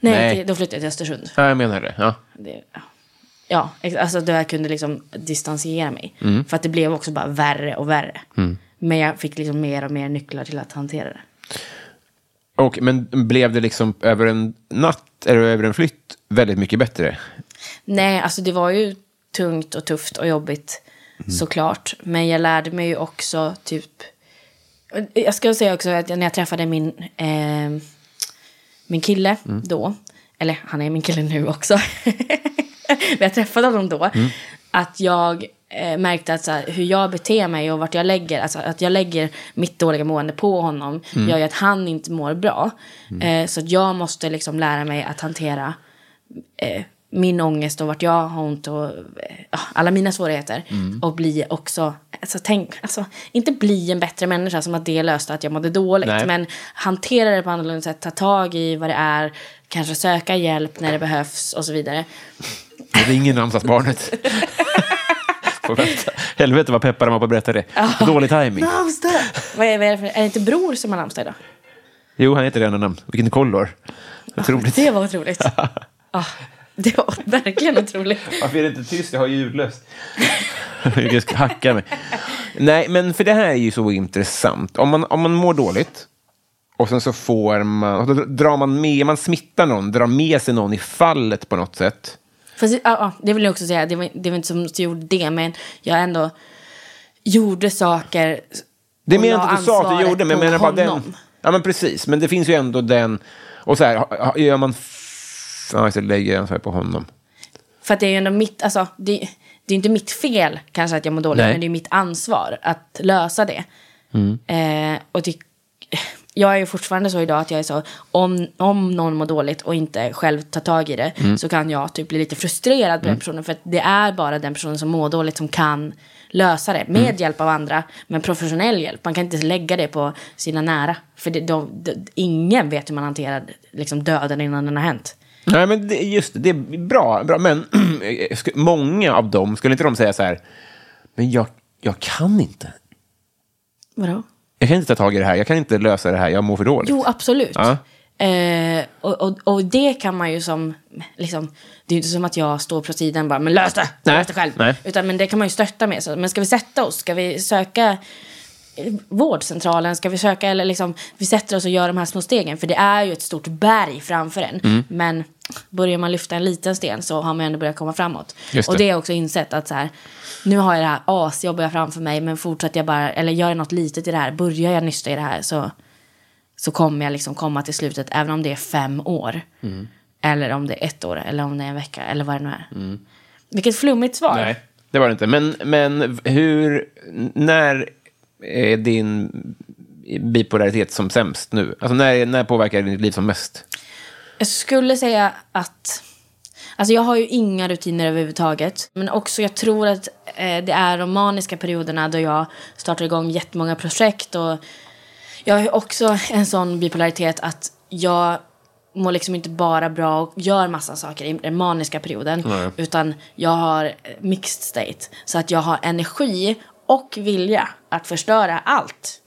Nej, Nej. det- då flyttade jag till Östersund. Ja, jag menar det. Ja. Det, ja. ja, ex- alltså då jag kunde liksom distansera mig. För att det blev också bara värre och värre. Men jag fick liksom mer och mer nycklar till att hantera det. Och, men blev det liksom över en natt eller över en flytt väldigt mycket bättre? Nej, alltså det var ju tungt och tufft och jobbigt. såklart. Men jag lärde mig ju också typ... Jag ska säga också att när jag träffade min, eh, min kille då, eller han är min kille nu också, men (laughs) jag träffade honom då, att jag eh, märkte att så här, hur jag beter mig och vart jag lägger, alltså att jag lägger mitt dåliga mående på honom gör ju att han inte mår bra. Eh, så att jag måste liksom lära mig att hantera eh, min ångest och vart jag har ont och eh, ja, alla mina svårigheter. Och bli också, alltså, tänk, alltså, inte bli en bättre människa som att det löste att jag mådde dåligt. Nej. Men hantera det på annorlunda sätt, ta tag i vad det är, kanske söka hjälp när det behövs och så vidare. Ring namnsdagsbarnet. (laughs) Får vänta. Helvete vad peppar de var på att berätta det. Dålig timing. Namnsdag! Vad är, vad är det för, är det inte bror som har namnsdag idag? Jo, han heter redan namn. Vilken kollor. Otroligt. Det (laughs) var otroligt. Ja, det var verkligen otroligt. Varför är det inte tyst? Jag har ljudlöst. (laughs) jag ska hacka mig. Nej, men för det här är ju så intressant. Om man, om man mår dåligt och sen så får man, och då drar man med, man smittar någon, drar med sig någon i fallet på något sätt. Fast, ja, ja, det vill jag också säga, det var, det var inte som att jag gjorde det, men jag ändå gjorde saker. Det och menar la jag inte att du sa att du ansvaret gjorde, men jag på menar bara den. honom. Ja, men precis. Men det finns ju ändå den, och så här, ha- ha- gör man... f- Ja, just det, lägger ansvaret på honom. För att det är ju ändå mitt, alltså, det, det är inte mitt fel kanske att jag mår dåligt, Nej. men det är mitt ansvar att lösa det. Eh, och det, jag är ju fortfarande så idag att jag är så, om, om någon mår dåligt och inte själv tar tag i det så kan jag typ bli lite frustrerad på den personen. För att det är bara den personen som mår dåligt som kan lösa det med hjälp av andra, men professionell hjälp. Man kan inte lägga det på sina nära. För det, de, de, ingen vet hur man hanterar liksom, döden innan den har hänt. Nej, men det, just det, det är bra. bra men (clears throat) sk- många av dem, skulle inte de säga så här, men jag, jag kan inte. Vadå? Jag kan inte ta tag i det här, jag kan inte lösa det här, jag mår för dåligt. Jo, absolut. Ja. Eh, och, och, och det kan man ju som, liksom, det är ju inte som att jag står på sidan och bara, men lös det! Nej, Lös det själv! nej. Utan men det kan man ju stötta med. Så, men ska vi sätta oss? Ska vi söka eh, vårdcentralen? Ska vi söka, eller liksom, vi sätter oss och gör de här små stegen. För det är ju ett stort berg framför en. Mm. Men börjar man lyfta en liten sten så har man ju ändå börjat komma framåt. Just Och det. det har jag också insett att så här, nu har jag det här asjobbiga framför mig, men fortsätter jag bara, eller gör jag något litet i det här, börjar jag nysta i det här så så kommer jag liksom komma till slutet, även om det är fem år. Eller om det är ett år, eller om det är en vecka, eller vad det nu är. Vilket flummigt svar. Nej, det var det inte. Men, men hur, när är din bipolaritet som sämst nu? Alltså när, när påverkar det ditt liv som mest? Jag skulle säga att... Alltså jag har ju inga rutiner överhuvudtaget. Men också jag tror att eh, det är de maniska perioderna då jag startar igång jättemånga projekt. Och jag har ju också en sån bipolaritet att jag mår liksom inte bara bra och gör massa saker i den maniska perioden. Utan jag har eh, mixed state. Så att jag har energi och vilja att förstöra allt.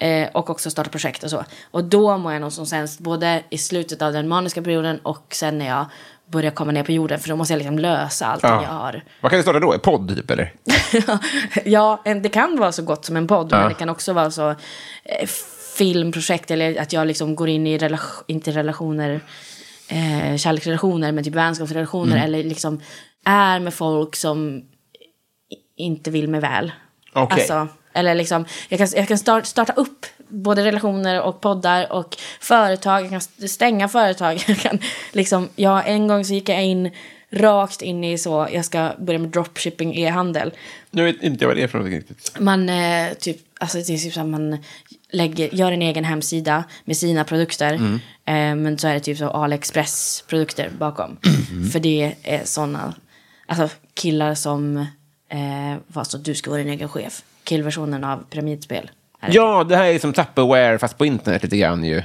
Eh, och också starta projekt och så. Och då mår jag nog som sämst både i slutet av den maniska perioden och sen när jag börjar komma ner på jorden. För då måste jag liksom lösa allting jag har. Vad kan du starta då? En podd, typ? Eller? (laughs) ja, en- det kan vara så gott som en podd. Men det kan också vara så eh, filmprojekt eller att jag liksom går in i relation, inte relationer, eh, kärleksrelationer, men typ vänskapsrelationer. Eller liksom är med folk som i- inte vill mig väl. Okej. Alltså, eller liksom, jag kan, jag kan start, starta upp både relationer och poddar och företag. Jag kan st- stänga företag. (laughs) Jag kan, liksom, ja, en gång så gick jag in rakt in i så, jag ska börja med dropshipping, e-handel. Nu vet inte jag vad det är för någonting riktigt. Man eh, typ, alltså det är typ så här, man lägger, gör en egen hemsida med sina produkter. Mm. Eh, men så är det typ så AliExpress produkter (clears throat) bakom. Mm. För det är sådana, alltså killar som eh, var så du ska vara din egen chef. Killversionen av pyramidspel. Är det. Ja, det här är som Tupperware, fast på internet lite grann ju.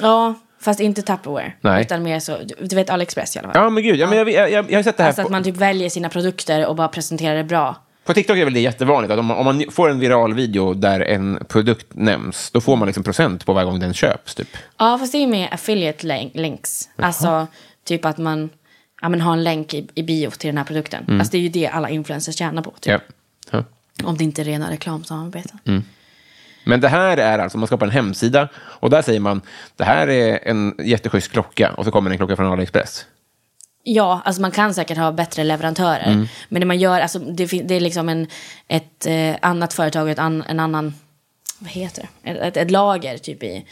ja, fast inte Tupperware. Nej. Utan mer så, du, du vet AliExpress i alla fall. Ja, men gud. Ja, men jag, jag, jag, jag har sett det här Alltså att på, man typ väljer sina produkter och bara presenterar det bra. på TikTok. är väl det jättevanligt att om man, om man får en viral video där en produkt nämns, då får man liksom procent på varje gång den köps. Typ. Ja, fast det är ju med affiliate link- links. Alltså typ att man ja, men har en länk i, i bio till den här produkten. Alltså det är ju det alla influencers tjänar på. Typ. Ja. Ja. Om det inte är rena reklamsamarbeten. Men det här är alltså, man skapar en hemsida och där säger man det här är en jätteschysst klocka och så kommer en klocka från AliExpress. Ja, alltså man kan säkert ha bättre leverantörer. Mm. Men det man gör, alltså det, fin- det är liksom en, ett eh, annat företag, och ett an, en annan, vad heter det? Ett, ett, ett lager typ i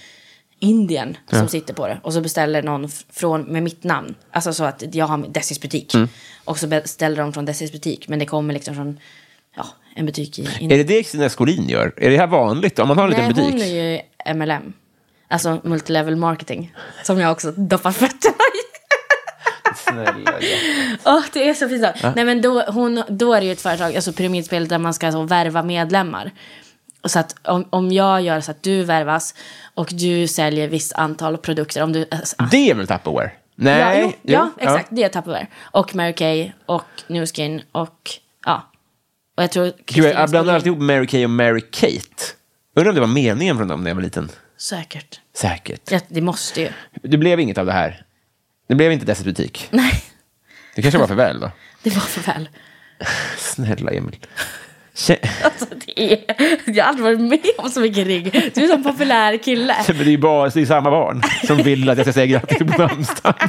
Indien som sitter på det. Och så beställer någon f- från, med mitt namn. Alltså så att jag har Dessis butik. Mm. Och så beställer de från Dessis butik. Men det kommer liksom från, ja, en butik i Indien. Är det det Christina Skolin gör? Är det här vanligt? Om man har en liten Nej, hon butik? är ju MLM. Alltså multilevel marketing. Som jag också doppar fötterna i. Snälla, ja. Åh, det är så pinsamt. Nej, men då, hon, då är det ju ett företag, alltså pyramidspel, där man ska så värva medlemmar. Och Så att om, om jag gör så att du värvas och du säljer visst antal produkter. Om du, alltså, Det är väl Tupperware? Nej. ja, jo, jo, ja, exakt. Det är Tupperware. Och Mary Kay och New Skin och ja. Och jag tror Gud, Kristina jag blandar Skolin- alltid ihop Mary Kay och Mary Kate. Undrar om det var meningen från dem när jag var liten. Säkert. Säkert. Ja, det måste ju. (laughs) Det blev inget av det här. Det blev inte Dessets butik. Nej, Det kanske var för väl då. det var för väl. Snälla Emil. Kä- Alltså, det är, jag har aldrig varit med om så mycket rigg. Du är en sån populär (laughs) kille. (laughs) Men det är ju bara, det är samma barn som vill att jag ska säga grattis på namnsdagen.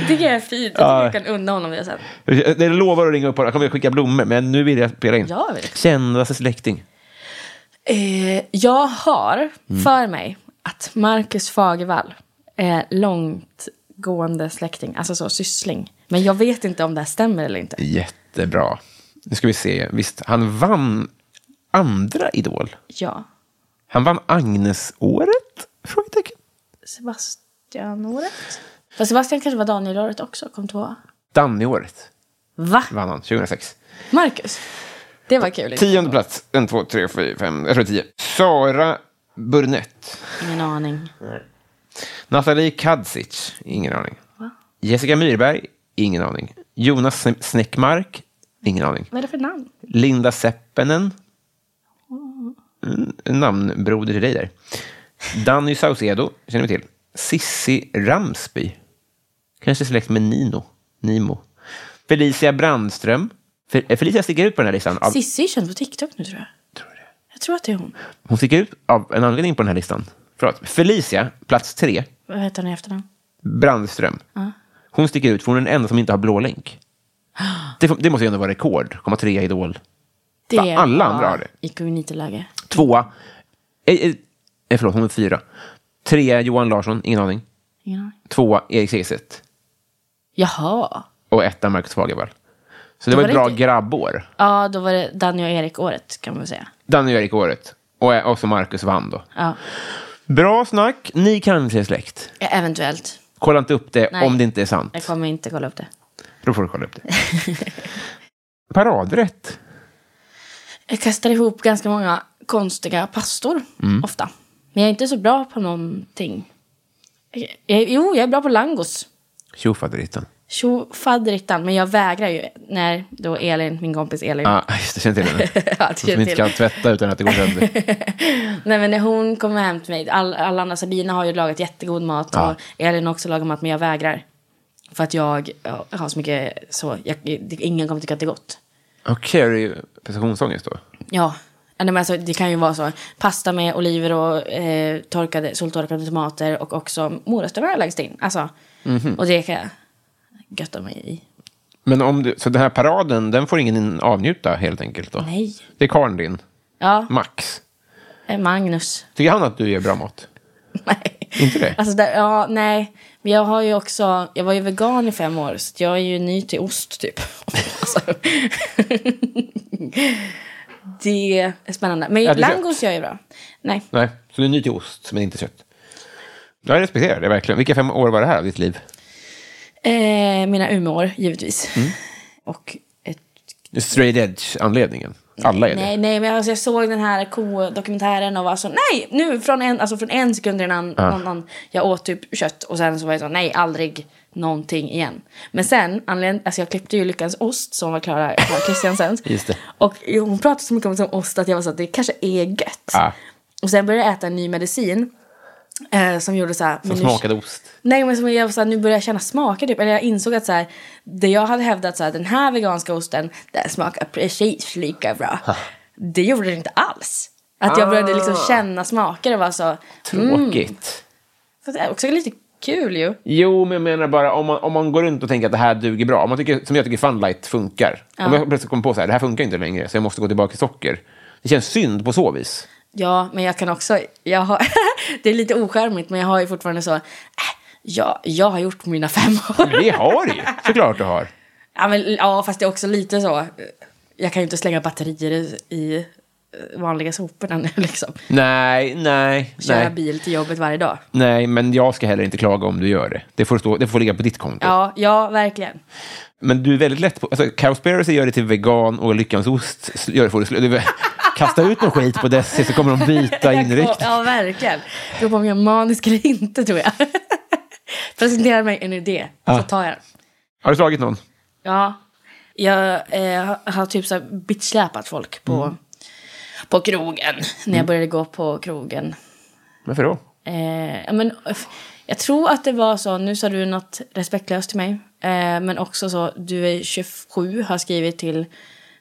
Det tycker jag är fint. Jag tycker du kan unna honom det sen. Det Eh, lovar att ringa upp och jag kommer att skicka blommor, men nu vill jag spela in. Ja, visst. Kändaste släkting. Eh, jag har för mig att Marcus Fagervall är långtgående släkting, alltså så syssling. Men jag vet inte om det här stämmer eller inte. Jättebra. Nu ska vi se. Visst, han vann andra Idol. Ja. Han vann Agnes-året? Frågetecken. Sebastian-året? Fast Sebastian kanske var Daniel-året också, kom tvåa. Danny-året Va? vann han 2006. Marcus? Det var kul. Tionde plats. En, två, tre, fyra, fem. Jag tror tio. Sara Burnett. Ingen aning. Nathalie Kadzic, ingen aning. Jessica Myrberg, ingen aning. Jonas Sne- Snäckmark, ingen aning. Vad är det för namn? Linda Seppenen, mm, namnbroder till dig där. Danny Saucedo, känner vi till. Sissi Ramsby, kanske släkt med Nino, Nimo. Felicia Brandström. Fel- eh, Felicia sticker ut på den här listan. Av, Cissi är känd på TikTok nu tror jag. Tror det. Jag tror att det är hon. hon sticker ut av en anledning på den här listan. Förlåt. Felicia, plats tre. Vad heter hon i efternamn? Brandström. Hon sticker ut, för hon är den enda som inte har blå länk. Det, får- det måste ju ändå vara rekord. Komma trea i Idol. Det Va, alla andra var har det. Ikoniteläge. Tvåa. Eh, eh, eh, förlåt, hon är fyra. Trea Johan Larsson, ingen aning. Ingen aning. Tvåa Erik Segerstedt. Jaha. Och etta Marcus Fagervall. Så det Då var var ett det bra inte- grabbår. Ja, då var det Danny och Erik-året kan man väl säga. Danny och Erik-året. Och, eh, och så Marcus vann då. Ja. Bra snack. Ni kanske är släkt. Eventuellt. Kolla inte upp det Nej. om det inte är sant. Jag kommer inte kolla upp det. Då får du kolla upp det. (laughs) Paradrätt. Jag kastar ihop ganska många konstiga pastor Mm. ofta. Men jag är inte så bra på någonting. Jag, jag, jo, jag är bra på langos. Tjofaderittan. Tjo fadderittan. Men jag vägrar ju när då Elin, min kompis Elin. Ja, ah, just det. Känner till henne. (laughs) Ja, det Som känner inte till. kan tvätta utan att det går (laughs) sönder. Nej men när hon kommer hem till mig, all, alla andra, Sabina har ju lagat jättegod mat och Elin har också lagat mat men jag vägrar. För att jag ja, har så mycket så, jag, det- ingen kommer tycka att det är gott. Okej, det är ju prestationsångest då. Ja, Ja, nej, men alltså, det kan ju vara så. Pasta med oliver och eh, torkade, soltorkade tomater och också morötter har jag lagt in. Alltså, Mhm. och det kan jag götta mig i. Men om du, så den här paraden, den får ingen avnjuta helt enkelt då? Nej. Det är karln din, Ja, Max. eh, Magnus. (laughs) Tycker han att du gör bra mat? Nej. Inte det? Alltså där, ja, nej. Men jag har ju också, jag var ju vegan i fem år, så jag är ju ny till ost typ. (laughs) Alltså. det är spännande. Men Äter langos gör jag ju bra. Nej, Nej, så du är ny till ost, men inte kött. Jag respekterar det verkligen. Vilka fem år var det här av ditt liv? eh, mina Umeår givetvis. Mm. Och ett, Straight edge-anledningen. Alla är nej, det. nej, men alltså, jag såg den här ko-dokumentären och var så nej, nu från en, alltså, från en sekund till en annan, Ah. annan. Jag åt typ kött och sen så var jag så, nej, aldrig någonting igen. Men sen, anledningen, alltså jag klippte ju Lyckans ost som var Klara Klara Kristiansens. (laughs) Just det. Och hon pratade så mycket om som ost att jag var så att det kanske är gött. Ah, Och sen började jag äta en ny medicin. Eh, som gjorde så här. men som nu- smakade ost. Nej men som jag var så här, nu börjar jag känna smaker typ. Eller jag insåg att så här, det jag hade hävdat så här, den här veganska osten, den smakar precis lika bra. Det gjorde det inte alls. Att jag började liksom känna smaker och var så. Tråkigt. Fast det är också lite Kul ju. Jo, men jag menar bara om man, om man går runt och tänker att det här duger bra. Om man tycker, som jag tycker Funlight funkar. Om jag plötsligt kommer på så här, det här funkar inte längre, så jag måste gå tillbaka till socker. Det känns synd på så vis. Ja, men jag kan också... Jag har, (laughs) det är lite oskärmigt, men jag har ju fortfarande så... Äh, ja, jag har gjort mina fem (laughs) år. Det har du ju, såklart du har. Ja, men, ja, fast det är också lite så... eh, Jag kan ju inte slänga batterier i, i eh, vanliga soporna nu, (laughs) liksom. Nej, nej, Köra nej. bil till jobbet varje dag. Nej, men jag ska heller inte klaga om du gör det. Det får, stå, det får ligga på ditt konto. Ja, ja, verkligen. Men du är väldigt lätt på... Alltså, Cowspiracy gör det till vegan och Lyckans ost sl- gör det får du sl- du, (laughs) Kasta ut någon skit på Desi så kommer de byta Jag- inriktning. (laughs) Ja, verkligen. Beror på om jag är manisk eller inte, tror jag. (laughs) Presentera mig en idé, så tar jag den. Har du slagit någon? Ja. Jag eh, har typ så här bitchsläpat folk på, på krogen. När jag började gå på krogen. Varför då? Eh, ja, men, f- jag tror att det var så, nu sa du något respektlöst till mig. Eh, men också så, du är 27, har skrivit till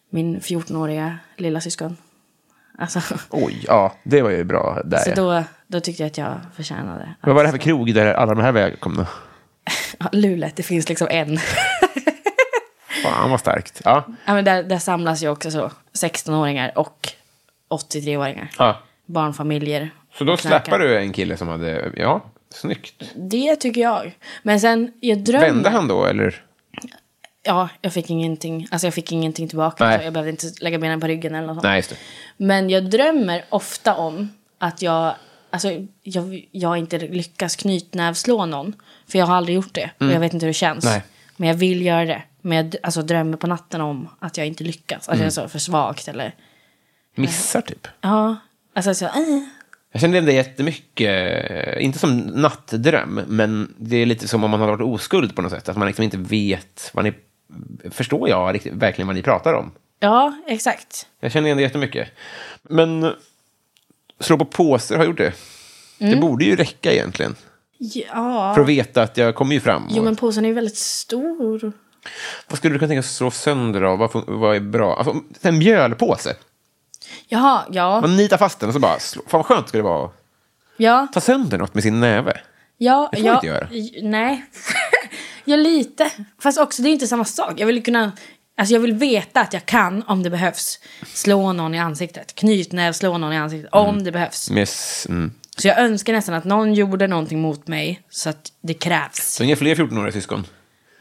min 14-åriga lilla syskon. Alltså, Oj, ja, det var ju bra där. så ja. då, då tyckte jag att jag förtjänade. Vad var det här för krog där alla de här välkomna? Ja, Lulet, det finns liksom en. Fan vad starkt. Ja. ja, men där, där samlas ju också så 16-åringar och 83-åringar. Ja. barnfamiljer. Så då och knarkar. släppar du en kille som hade, ja, snyggt. Det tycker jag. Men sen, jag drömmer... Vände han då eller? Ja, jag fick ingenting, alltså jag fick ingenting tillbaka. Nej. Så jag behövde inte lägga benen på ryggen eller något sånt. Nej, just det. Men jag drömmer ofta om att jag, alltså, jag, jag inte lyckas knytnävslå någon. För jag har aldrig gjort det och jag vet inte hur det känns. Nej. Men jag vill göra det. Men jag d- alltså, drömmer på natten om att jag inte lyckas. Att jag är så för svagt eller... Missar typ. Ja, alltså så... Äh. Jag känner igen det jättemycket, eh, inte som nattdröm, men det är lite som om man har varit oskuld på något sätt. Att man liksom inte vet, vad ni, förstår jag riktigt, verkligen vad ni pratar om? Ja, exakt. Jag känner igen det jättemycket. Men slå på påser har jag gjort det. Det borde ju räcka egentligen. Mm. Ja. För att veta att jag kommer ju fram. Jo, och- men påsen är ju väldigt stor. Vad skulle du kunna tänka dig att slå sönder av? Vad, fun- vad är bra? Alltså, en mjölpåse. Jaha, ja. Man nitar fast den och så bara, slå. fan vad skönt skulle det vara att Ja, ta sönder något med sin näve. ja. Det får ja, man inte göra. j- Nej. (laughs) ja, lite. Fast också, det är inte samma sak. Jag vill kunna... Alltså jag vill veta att jag kan, om det behövs, slå någon i ansiktet. Knytnäv, slå någon i ansiktet, om det behövs. Med, s- mm. Så jag önskar nästan att någon gjorde någonting mot mig så att det krävs. Så inga fler 14-åriga syskon.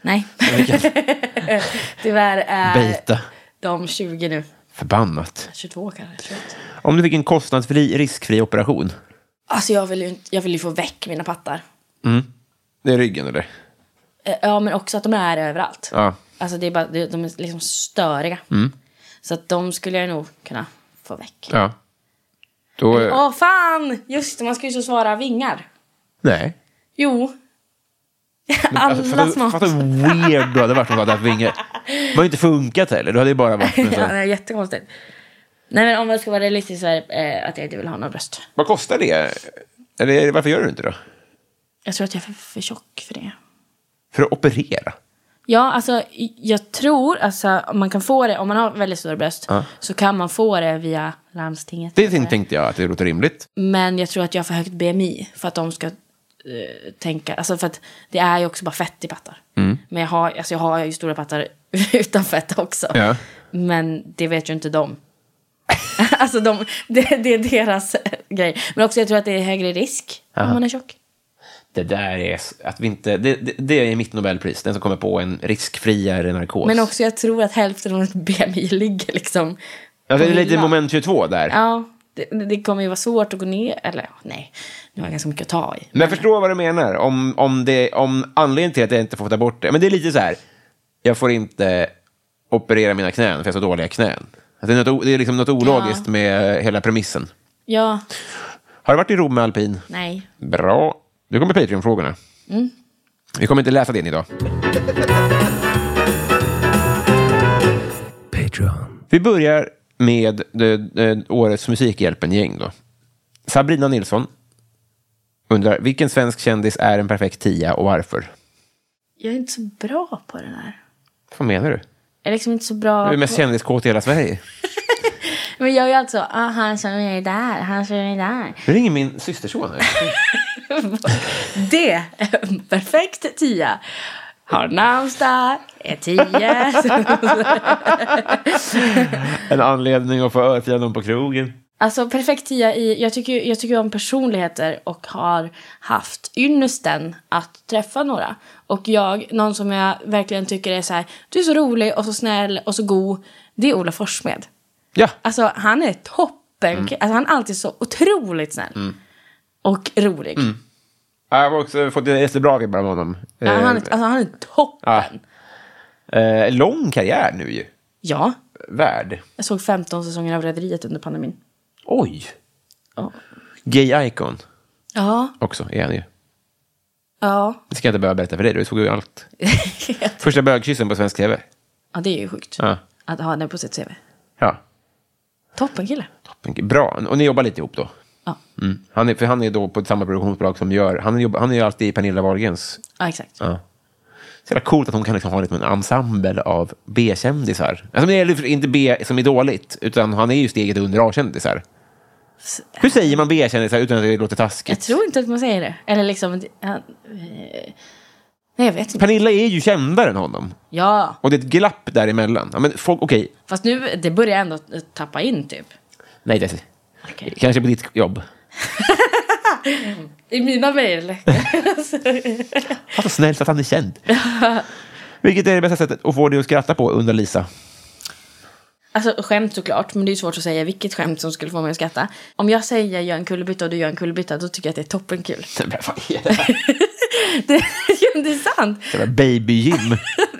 Nej. (laughs) Tyvärr är Beta. de 20 nu. Förbannat. 22 kanske. 21. Om du fick en kostnadsfri, riskfri operation. Alltså jag vill ju, inte- jag vill ju få väck mina pattar. Det är ryggen eller? Eh, Ja, men också att de är överallt. Ja. Alltså det är bara, det- de är liksom störiga. Mm. Så att de skulle jag nog kunna få väck. ja. Då... eh, Åh fan! Just det, man ska ju så svara vingar. Nej. Jo. Alltså, Alla fatta- små... Fatta hur weird du hade varit om du hade haft vingar. Det har ju inte funkat heller. Du Alltså. hade ju bara varit (laughs) med ja, det så. är jättekonstigt. Nej men om jag ska vara realistisk så är det eh, att jag inte vill ha någon bröst. Vad kostar det? Eller varför gör du det inte då? Jag tror att jag är för, för tjock för det. För att operera? Ja, alltså jag tror alltså om man kan få det, om man har väldigt stora bröst så kan man få det via landstinget. Det tänkte jag att det låter rimligt. Men jag tror att jag har för högt BMI för att de ska eh, tänka, alltså för att det är ju också bara fett i pattar. Mm. Men jag har, alltså jag har ju stora pattar (laughs) utan fett också. Ja. Men det vet ju inte de. (laughs) alltså de, det, det är deras (laughs) grej. Men också jag tror att det är högre risk om man är tjock. Det där är s- att vi inte... Det, det, det är mitt Nobelpris. Den som kommer på en riskfriare narkos. Men också jag tror att hälften av (laughs) ett BMI ligger liksom. ja, det är på lite hyllan. moment 22 där. Ja, det, det kommer ju vara svårt att gå ner, eller nej, nu har jag ganska mycket att ta i. Men jag förstår vad du menar. Om, om, det, om anledningen till att jag inte får ta bort det. Men det är lite så här. Jag får inte operera mina knän för jag har så dåliga knän. Att Det är, något, o- det är liksom något ologiskt med hela premissen. Ja, Har du varit i Rom med alpin? nej. Bra. Nu kommer Patreon-frågorna. Mm. Vi kommer inte läsa din idag. Patreon. Vi börjar med det, det, årets Musikhjälpen-gäng. Då. Sabrina Nilsson undrar vilken svensk kändis är en perfekt tia och varför? Jag är inte så bra på den här. Vad menar du? Jag är liksom inte så bra Du är mest på... kändiskåt i hela Sverige. Men jag är ju alltså, ah, han som är där, han som är där. Nu ringer min systerson. här. Det är en (laughs) perfekt tia. Har namnsdag, är tio. (laughs) En anledning att få örfila någon på krogen. Alltså perfekt tia i, jag tycker, jag tycker om personligheter och har haft ynnesten att träffa några. Och jag, någon som jag verkligen tycker är så här, du är så rolig och så snäll och så god, det är Ola Forssmed. Ja. Alltså han är toppen, Mm. alltså, han är alltid så otroligt snäll. Och rolig. Jag har också fått jättebra vibbar av honom. Ja, han, är, alltså, han är toppen. Eh, eh, lång karriär nu ju. Ja, Värd. jag såg 15 säsonger av Rederiet under pandemin. Oj! Ja. Gay icon Ja, också är han ju. ja. Det ska jag inte behöva berätta för dig, du såg ju allt. Första bögkyssen på svensk tv. Ja, det är ju sjukt. Ja. Att ha den på sitt CV. ja. Toppen kille. Toppen. Bra. Och ni jobbar lite ihop då? Ja. Mm. Han, är, för han är då på samma produktionsbolag som gör... Han, jobbar, han är ju alltid i Pernilla Wahlgrens. Ja, exakt. Ja. Så jävla coolt att hon kan liksom ha liksom en ensemble av B-kändisar. Alltså, det är inte B som är dåligt, utan han är ju steget under A-kändisar. Hur säger man B-kändisar utan att det låter taskigt? Jag tror inte att man säger det. Eller liksom... det- Han, eh, nej, jag vet inte. Pernilla är ju kändare än honom. Ja, Och det är ett glapp däremellan. Ja, men folk, okej. fast nu det börjar ändå tappa in typ. Nej, det Kanske på ditt jobb. I mina mejl. (laughs) Fan så snällt att han är känd. Vilket är det bästa sättet att få dig att skratta på, undrar Lisa. (laughs) Alltså skämt såklart, men det är ju svårt att säga vilket skämt som skulle få mig att skratta. Om jag säger jag gör en kullerbytta och du gör en kullerbytta, då tycker jag att det är (laughs) toppenkul. Men vad fan är det här? Det, det är sant. Jävla Baby-gym.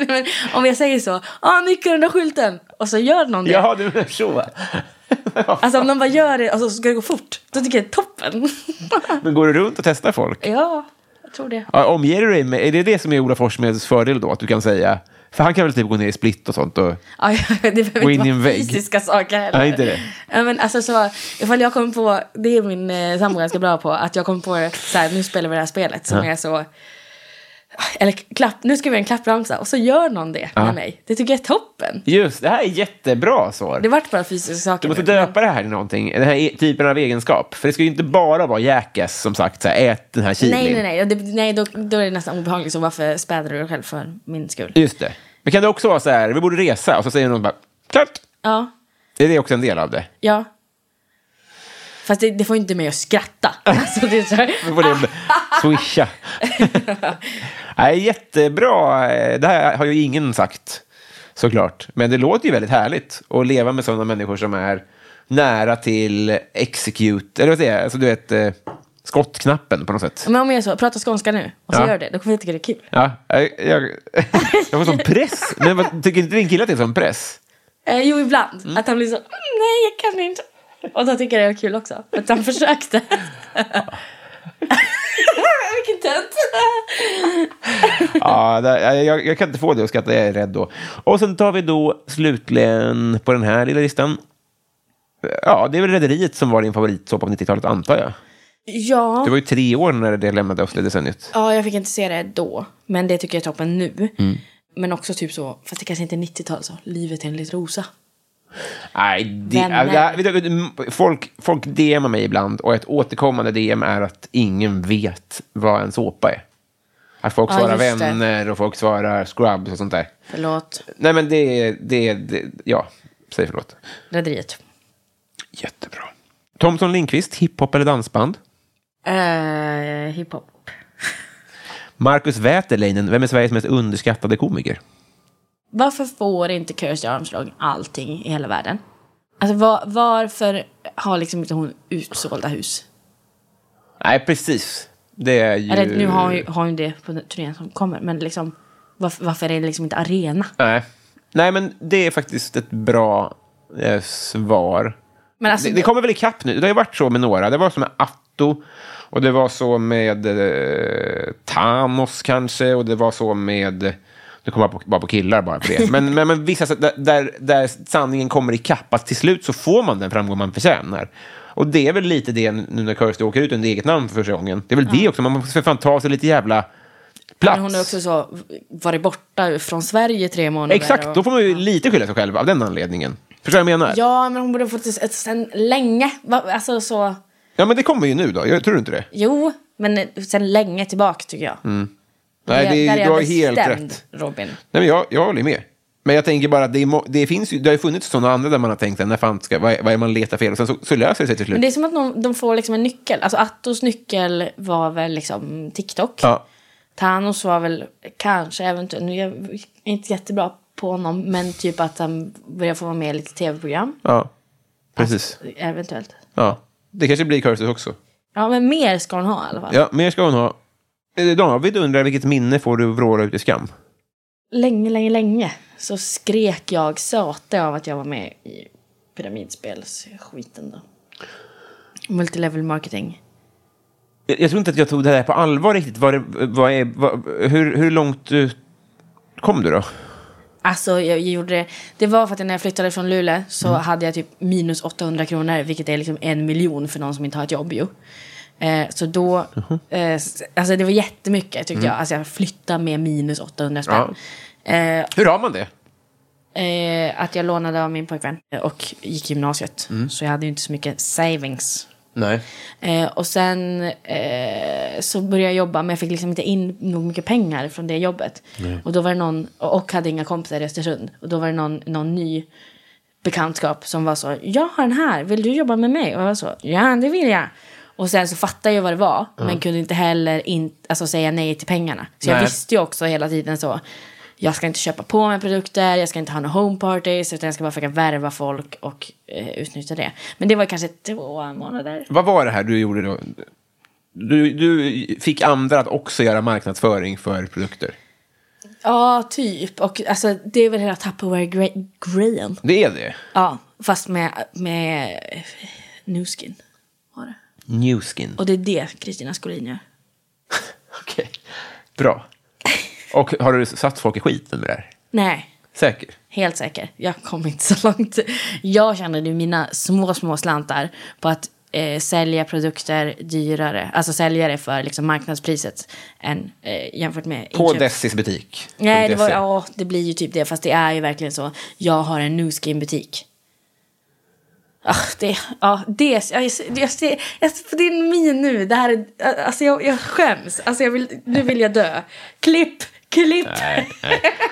Men om jag säger så, ah nyckeln under skylten, och så gör någon det. Jaha, du menar så. Alltså om någon bara gör det och så ska det gå fort, då tycker jag det (laughs) är toppen. Men går du runt och testar folk? ja, jag tror det. Ja, omger du dig med, är det det som är Ola Forssmeds fördel då? Att du kan säga, för han kan väl typ gå ner i split och sånt och... Ja, ja, det behöver Gå in inte i en vara vägg. fysiska saker heller. Nej, inte det. Ja, men alltså så, ifall jag kommer på, det är min eh, sambo ganska bra på, att jag kommer på så här, nu spelar vi det här spelet som är så, eller klapp, nu ska vi göra en klappramsa och så gör någon det med mig. Det tycker jag är toppen. Just det, här är jättebra svar. Det vart bara fysiska saker. Du måste nu. döpa det här till någonting, den här e- typen av egenskap. För det ska ju inte bara vara jäkas som sagt, så här, ät den här chilin. Nej, nej, nej. Ja, Det, nej då, då är det nästan obehagligt. Så varför späder du dig själv för min skull? Just det. Men kan det också vara så här, vi borde resa, och så säger någon bara, klart! Ja, Är det också en del av det? ja. Fast det, det får inte mig att skratta. (laughs) Alltså, det är så här, Då får (laughs) det swisha. (laughs) Nej, jättebra. Det här har ju ingen sagt, såklart. Men det låter ju väldigt härligt att leva med sådana människor som är nära till execute, eller vad säger jag, alltså, du vet, eh, skottknappen på något sätt. Men om jag är så, prata skånska nu, och så Ja. gör det, då kommer jag tycka det är kul. Ja, jag, jag, (laughs) jag får sån press. Men vad, tycker inte din kille att det är sån press? Eh, jo, ibland. Att han blir så, "Mm, nej, jag kan inte. Och då tycker jag det är kul också, för att han (laughs) försökte. Vilken tönt. Ja, där, jag- jag, jag kan inte få det att skratta, jag är rädd då. Och sen tar vi då slutligen på den här lilla listan. Ja, det är väl Rederiet som var din favoritsåpa på 90-talet, antar jag. Ja. Du var ju tre år när det lämnade oss, det decenniet. ja, jag fick inte se det då, men det tycker jag är toppen nu. Men också typ så, fast det kanske inte är 90-tal så, livet är en liten rosa. Nej, det, Vänner. ja, vet du, vet du, folk, folk DMar mig ibland och ett återkommande DM är att ingen vet vad en såpa är. Att folk Ja, svarar just det. vänner och folk svarar scrubs och sånt där. Förlåt, Nej, men det är... Det, det, ja, säg förlåt. Rederiet. Jättebra. Thomson Lindqvist, hiphop eller dansband? Eh, hiphop. Marcus Wäterleinen, vem är Sveriges mest underskattade komiker? Varför får inte Kirsty Armstrong allting i hela världen? Alltså var, varför har liksom inte hon utsålda hus? Nej, precis. Det är ju... Eller nu har hon, har hon det på den turnén som kommer, men liksom varför, varför är det liksom inte arena? Nej. Nej, men det är faktiskt ett bra eh, svar. Men alltså, Det, det kommer väl ikapp nu. Det har ju varit så med några. Det var så med Atto och det var så med eh, Thanos kanske och det var så med... Nu kommer jag på, bara på killar bara för (laughs) det. Men, men, men vissa sätt där, där, där sanningen kommer ikapp att till slut så får man den framgång man förtjänar. Och det är väl lite det nu när Kirsty åker ut under eget namn för första gången. Det är väl det också. Man måste för fan ta sig lite jävla plats. men hon har också så varit borta från Sverige i tre månader. Exakt, då får man ju lite skylla sig själv av den anledningen. Förstår du vad jag menar? Ja, men hon borde ha fått det sen länge. Va- Alltså så, Ja, men det kommer ju nu då. Jag, tror du inte det? jo, Men eh, sen länge tillbaka tycker jag. Mm. Nej, Där- det, är- där är du jag har helt bestämd, rätt. Robin. Nej, men jag, jag håller med. Men jag tänker bara att det, är, må- det, finns ju, det har ju funnits sådana andra där man har tänkt att, när fan ska, vad, är, vad är man letar fel? Och sen så, så löser det sig till slut. Men det är som att någon, de får liksom en nyckel. Alltså Attos nyckel var väl liksom TikTok. Ja. Thanos var väl kanske eventuellt, nu är jag inte jättebra på honom, men typ att han börjar få vara med i lite tv-program. Alltså, ja, precis. Eventuellt. Ja. Det kanske blir Curses också. Ja, men mer ska hon ha i alla fall. Ja, mer ska hon ha. Eh, David undrar vilket minne får du vråla ut i skam? Länge, länge, länge så skrek jag söte av att jag var med i pyramidspelsskiten då. Multilevel marketing. Jag, jag tror inte att jag tog det här på allvar riktigt. Vad det, vad är, vad, hur, hur långt eh, kom du då? Alltså jag gjorde det, det var för att när jag flyttade från Luleå så hade jag typ minus 800 kronor vilket är liksom en miljon för någon som inte har ett jobb ju. Eh, så då, eh, s- alltså det var jättemycket tyckte jag. Alltså jag flyttade med minus 800 spänn. Eh, Hur har man det? eh, att jag lånade av min pojkvän och gick gymnasiet. Så jag hade ju inte så mycket savings. Nej. Eh, och sen eh, så började jag jobba men jag fick liksom inte in nog mycket pengar från det jobbet. Och då var det någon, och och hade inga kompisar i Östersund. Och då var det någon, någon ny bekantskap som var så, jag har den här, vill du jobba med mig? Och jag var så, ja det vill jag. Och sen så fattade jag vad det var, men kunde inte heller in, alltså, säga nej till pengarna. Så jag Nej. visste ju också hela tiden så, jag ska inte köpa på mig produkter, jag ska inte ha några home parties, utan jag ska bara försöka värva folk och eh, utnyttja det. Men det var kanske två månader. Vad var det här du gjorde då? Du, du fick andra att också göra marknadsföring för produkter. Ja, typ. Och alltså, det är väl hela Tupperware-grejen. Det är det. Ja, fast med, med eh, new skin. Var det. Newskin. Och det är det Kristina Skolin gör. Okej. Bra. Och har du satt folk i skiten med det här? Nej, Säker? helt säker. Jag kom inte så långt. Jag tjänade ju mina små, små slantar på att eh, sälja produkter dyrare. Alltså sälja det för liksom, marknadspriset än, eh, jämfört med På inköp. Dessis butik? Nej, det, var, .se. ja, det blir ju typ det. Fast det är ju verkligen så. Jag har en new skin butik. Ah, det, ja, det, jag, jag ser, jag, ser på din min nu, det här är, alltså jag, jag skäms, alltså jag vill, nu vill jag dö. Klipp, klipp!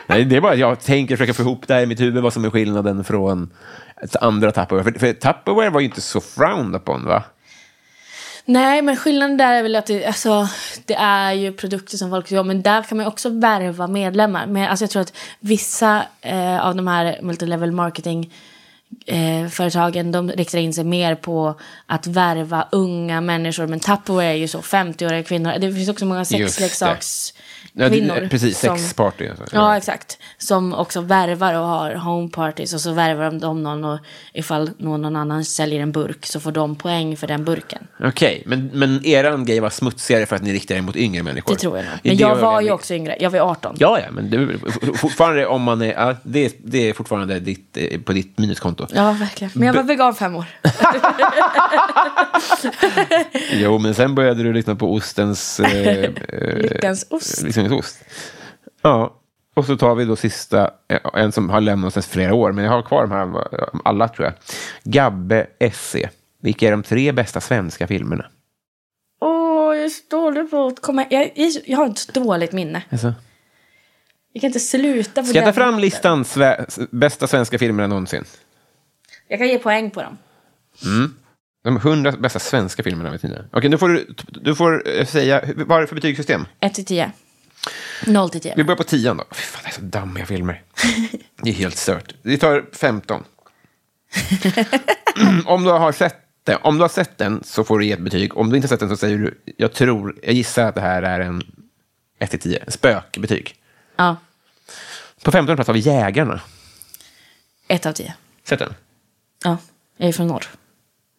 Nej, det är bara att jag tänker försöka få ihop det här i mitt huvud, vad som är skillnaden från ett andra Tupperware. För, för Tupperware var ju inte så frowned upon, va? Nej, men skillnaden där är väl att det, alltså, det är ju produkter som folk gör, men där kan man ju också värva medlemmar. Men alltså, jag tror att vissa eh, av de här multilevel marketing eh, företagen, de riktar in sig mer på att värva unga människor. Men Tupperware är ju så 50-åriga kvinnor. Det finns också många det. Ja, det- sexleksakskvinnor. precis, som- sexparty. alltså. Ja, exakt. Som också värvar och har home parties och så värvar de dem någon och ifall någon, någon annan säljer en burk så får de poäng för den burken. Okej, men, men eran grej var smutsigare för att ni riktade er mot yngre människor? Det tror jag nog. Det Men jag var var jag ju vet. också yngre. Jag var ju 18. Ja, ja, men det, är fortfarande om man är... Ja, det, är- det är fortfarande ditt, eh, på ditt minuskonto. Ja, verkligen. Men jag var vegan fem år. Jo, men sen började du lyssna på ostens... Eh, eh, Lyckans ost. liksom ost. Ja, och så tar vi då sista, eh, en som har lämnat oss flera år, men jag har kvar de här, alla tror jag. Gabbe SE. Vilka är de tre bästa svenska filmerna? Åh, jag är så dålig på att komma... Jag, jag, är så- jag har ett så dåligt minne. Alltså. Jag kan inte sluta på Ska jag ta den. fram listan sve, s- bästa svenska filmerna någonsin? Jag kan ge poäng på dem. De 100 bästa svenska filmerna över tiden. Okej, nu får du, du får eh, säga, hur- vad är det för betygssystem? 1 till 10. 0 till 10. Vi börjar på tian då. Fy fan, det är så dammiga filmer. Det är helt stört. Vi tar 15. om du har sett den, om du har sett den så får du ge ett betyg. Om du inte har sett den så säger du, jag tror, jag gissar att det här är en 1 till 10, en spökbetyg. Ja, På 15 plats har vi Jägarna. 1 av 10. Sett den? Ja, jag är från norr.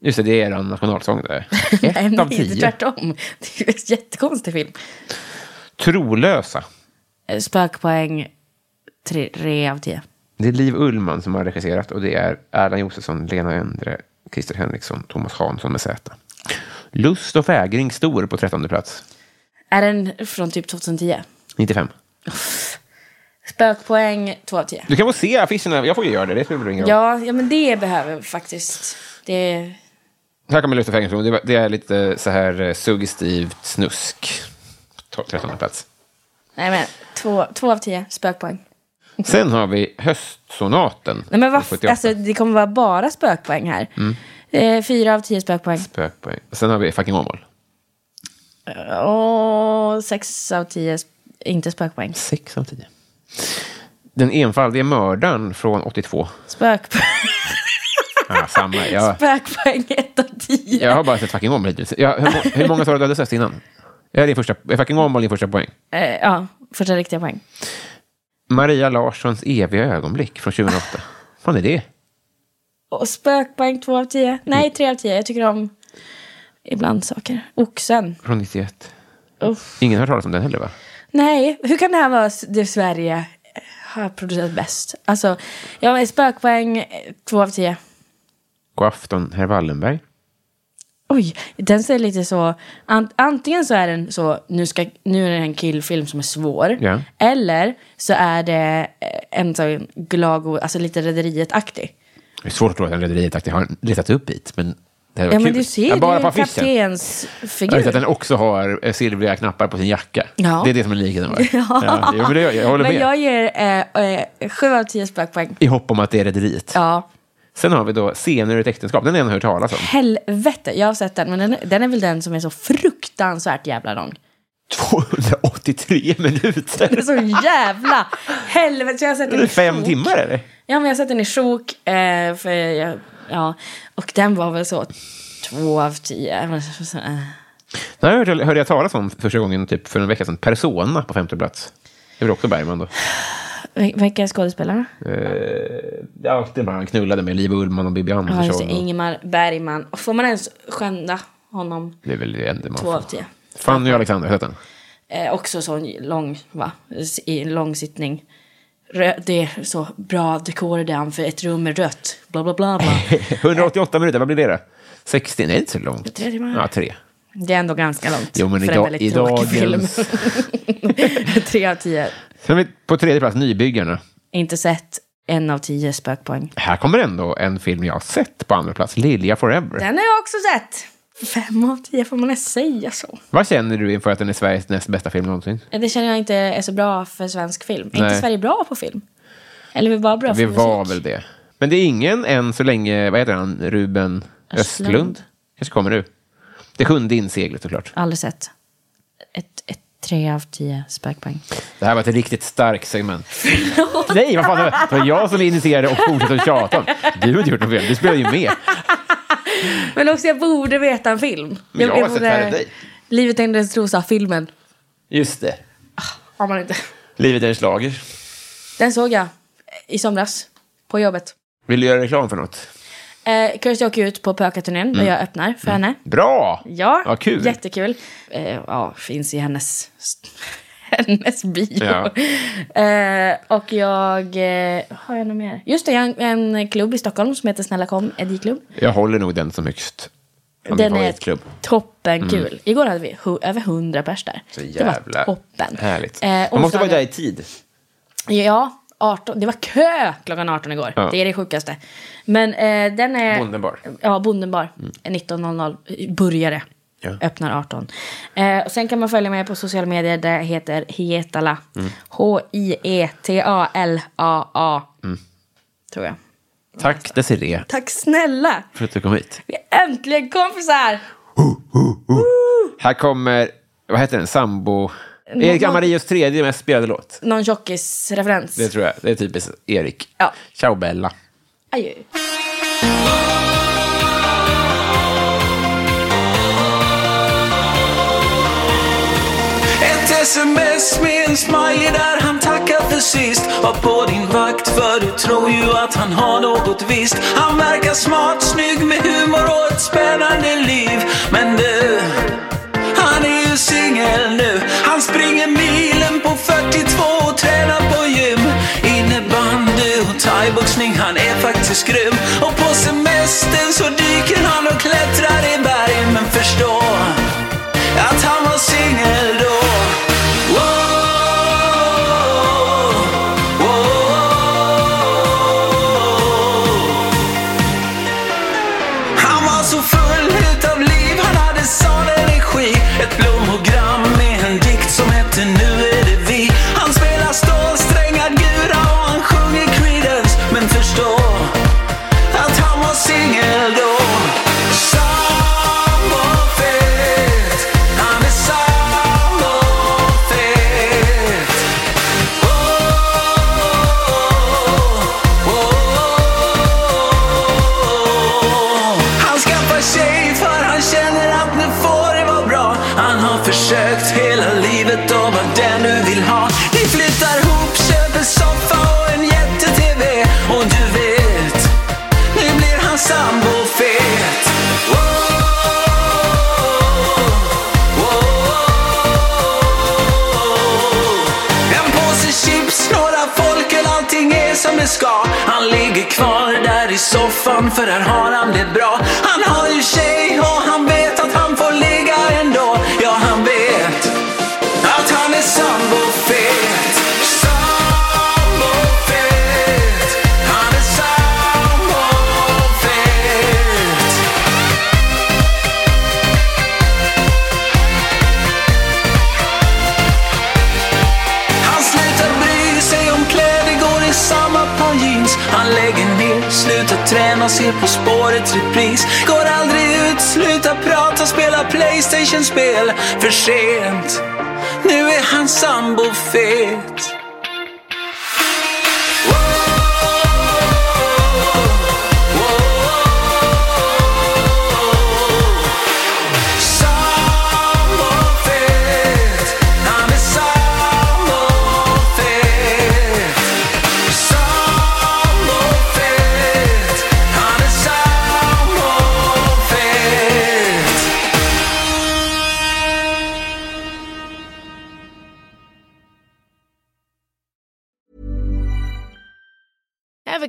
Just det, det är er nationalsång där. Ett av (laughs) Nej, det är tio. Tvärtom. Det är en jättekonstig film. Trolösa. Eh, Spökpoäng 3 av 10. Det är Liv Ullman som har regisserat och det är Erland Josefsson, Lena Endre, Christer Henriksson, Thomas Hansson med Z. Lust och fägring stor på 13 plats. Är den från typ 2010? 95. Spökpoäng 2 av 10. Du kan få se affischerna. Jag får ju göra det. Det spelar väl ingen roll. Ja, ja men det behöver faktiskt. Det, Här kommer Lust och fängelse. Det var- Det är lite så här eh, suggestivt snusk. Ta- 13 plats. Nej men, två, två av tio spökpoäng. Sen har vi höstsonaten. Nej men vad, 78. alltså det kommer vara bara spökpoäng här. Eh, fyra av tio spökpoäng. Spökpoäng. Sen har vi fucking Åmål. Och sex av tio, sp- inte spökpoäng. Sex av tio. Den enfaldige mördaren från 82. Spökpoäng, Ah, (laughs) samma. Jag, spökpoäng ett av tio. jag har bara sett fucking Åmål hittills. Jag, hur, må- hur många sa du att du hade sett innan? Jag är din första, är fucking Åmål din första poäng. Eh, ja, första riktiga poäng. Maria Larssons eviga ögonblick från 2008. Vad är det? Och spökpoäng två av tio. Nej, tre av tio. Jag tycker om ibland saker. Oxen. Från 91. Uff. Ingen har hört talas om den heller, va? Nej, hur kan det här vara s- det Sverige har producerat bäst? Alltså, ja, men spökpoäng eh, två av tio. God afton, herr Wallenberg. Oj, den ser lite så... An, antingen så är den så, nu, ska, nu är det en killfilm som är svår. Ja. Eller så är det eh, en sån glago, alltså lite Rederiet-aktig. Det är svårt att tro att en rederiet faktiskt har letat upp hit, men det här var Ja, kul. men du ser, Ja, bara det på är affischen. kaptenens Jag vet att figur. den också har eh, silvriga knappar på sin jacka. Ja. Det är det som är likheten. va? (laughs) Ja, jo, men det, jag håller Men med. jag ger eh, eh, sju av tio spökpoäng. I hopp om att det är rederiet. Ja, Sen har vi då Scener ur ett äktenskap. Den har jag nog hört (laughs) talas om. helvete. Jag har sett den, men den, den är väl den som är så fruktansvärt jävla lång. 283 Den är minuter! så jävla helvete. Så jag har sett den i Fem sjok. timmar, eller? Ja, men jag har sett den i sjok. Eh, för jag, ja. Och den var väl så två av tio. Men så- så- eh. Den här hörde, hörde jag talas om första gången typ för en vecka sedan. Persona på femte plats. Det var också Bergman då. Vil- Vilka är skådespelarna? Ja, det var han knullade med Liv Ullman och Bibi Ja, just Andersson. det. och- Ingemar Bergman. Och Får man ens skända honom? det är väl det enda man Två av får. tio. Fanny och Alexander, har du sett den? (laughs) Eh, också sån lång, va? S- I en lång sittning. Rö- det är så bra dekor i den, för ett rum är rött. Bla, bla, bla, (laughs) bla. 188 minuter, vad blir det då? 60, nej inte så långt. Tre timmar. Ja, tre. Det är ändå ganska långt. Jo, men för en idag, väldigt i tråkig film. (laughs) dagens... Tre av tio. Sen har vi på tredje plats, Nybyggarna. Inte sett. En av tio spökpoäng. Här kommer ändå en film jag har sett på andra plats, Lilja Forever. Den har jag också sett. Fem av tio, får man ens säga så? Vad känner du inför att den är Sveriges näst bästa film någonsin? Eh, Det känner jag inte är så bra för svensk film. Är inte Nej. Sverige bra på film? Eller är vi bara bra Vi för musik? var väl det. Men det är ingen än så länge, vad heter han, Ruben Östlund. Östlund? Kanske kommer du. Det sjunde inseglet såklart. Aldrig sett. Ett, ett, tre av tio spökpoäng. Det här var ett riktigt starkt segment. Nej, vad fan, det var- det var jag som initierade och fortsatte att tjata om. Du har inte gjort något fel, du spelar ju med. Men också, jag borde veta en film. Men jag har sett färre än dig. Livet är inte ens trosa, filmen. Just det. Har man inte. Livet är en slager. Den såg jag i somras. På jobbet. Vill du göra reklam för något? Eh, Kirsty åker ut på Pökaturnén där Mm. jag öppnar för henne. Bra! Ja, Vad kul. jättekul. Eh, ja, finns i hennes, (laughs) hennes bio. Ja. Eh, och jag, eh, har jag något mer? Just det, jag har en, en klubb i Stockholm som heter Snälla kom, Ediklubb. Jag håller nog den som högst. Av min Den är favoritklubb. Mm. toppenkul. Igår hade vi hu- över 100 pers där. Så det var jävla toppen. Härligt. Eh, Man måste onsdagar- vara där i tid. Ja, 18. Det var kö klockan 18 igår. Ja. Det är det sjukaste. Men eh, den är... Bondenbar. Mm. Ja, Bondenbar. 19.00 började. Ja. Öppnar 18. Eh, och sen kan man följa mig på sociala medier där jag heter Hietala. Mm. E H-I-E-T-A-L-A-A. Mm. Tror jag. Tack Desiree Tack snälla! för att du kom hit. Vi är äntligen kompisar! Här kommer, vad heter den, sambo... Erik Amarios tredje mest spelade låt. Någon tjockis-referens. Det tror jag. Det är typiskt Erik. Ja. Ciao Bella. Adjö. Ett sms med en smiley där han tackar för sist Var på din vakt för du tror ju att han har något visst Han verkar smart, snygg med humor och ett spännande liv Men du, han är ju singel nu Han springer milen på 42 och tränar på gym Innebandy och thaiboxning, han är faktiskt grym Och på semestern så dyker han och klättrar i berg Men förstå att han var singel då. Wow, wow. Han var så full med ska. Han ligger kvar där i soffan för här har han det bra. Han har ju tjej och han vet att han får ligga ändå. Ja, han vet att han är sambofet. Sambofet. Han är sambofet. Han slutar bry sig om kläder, går i samma par jeans. Han lägger ner, slutar träna, ser På spåret repris. Går aldrig ut, slutar prata, spelar Playstation-spel. För sent, nu är han sambofet. Sambofet, han är sambofet. Sambofet, han är sambofet. Ever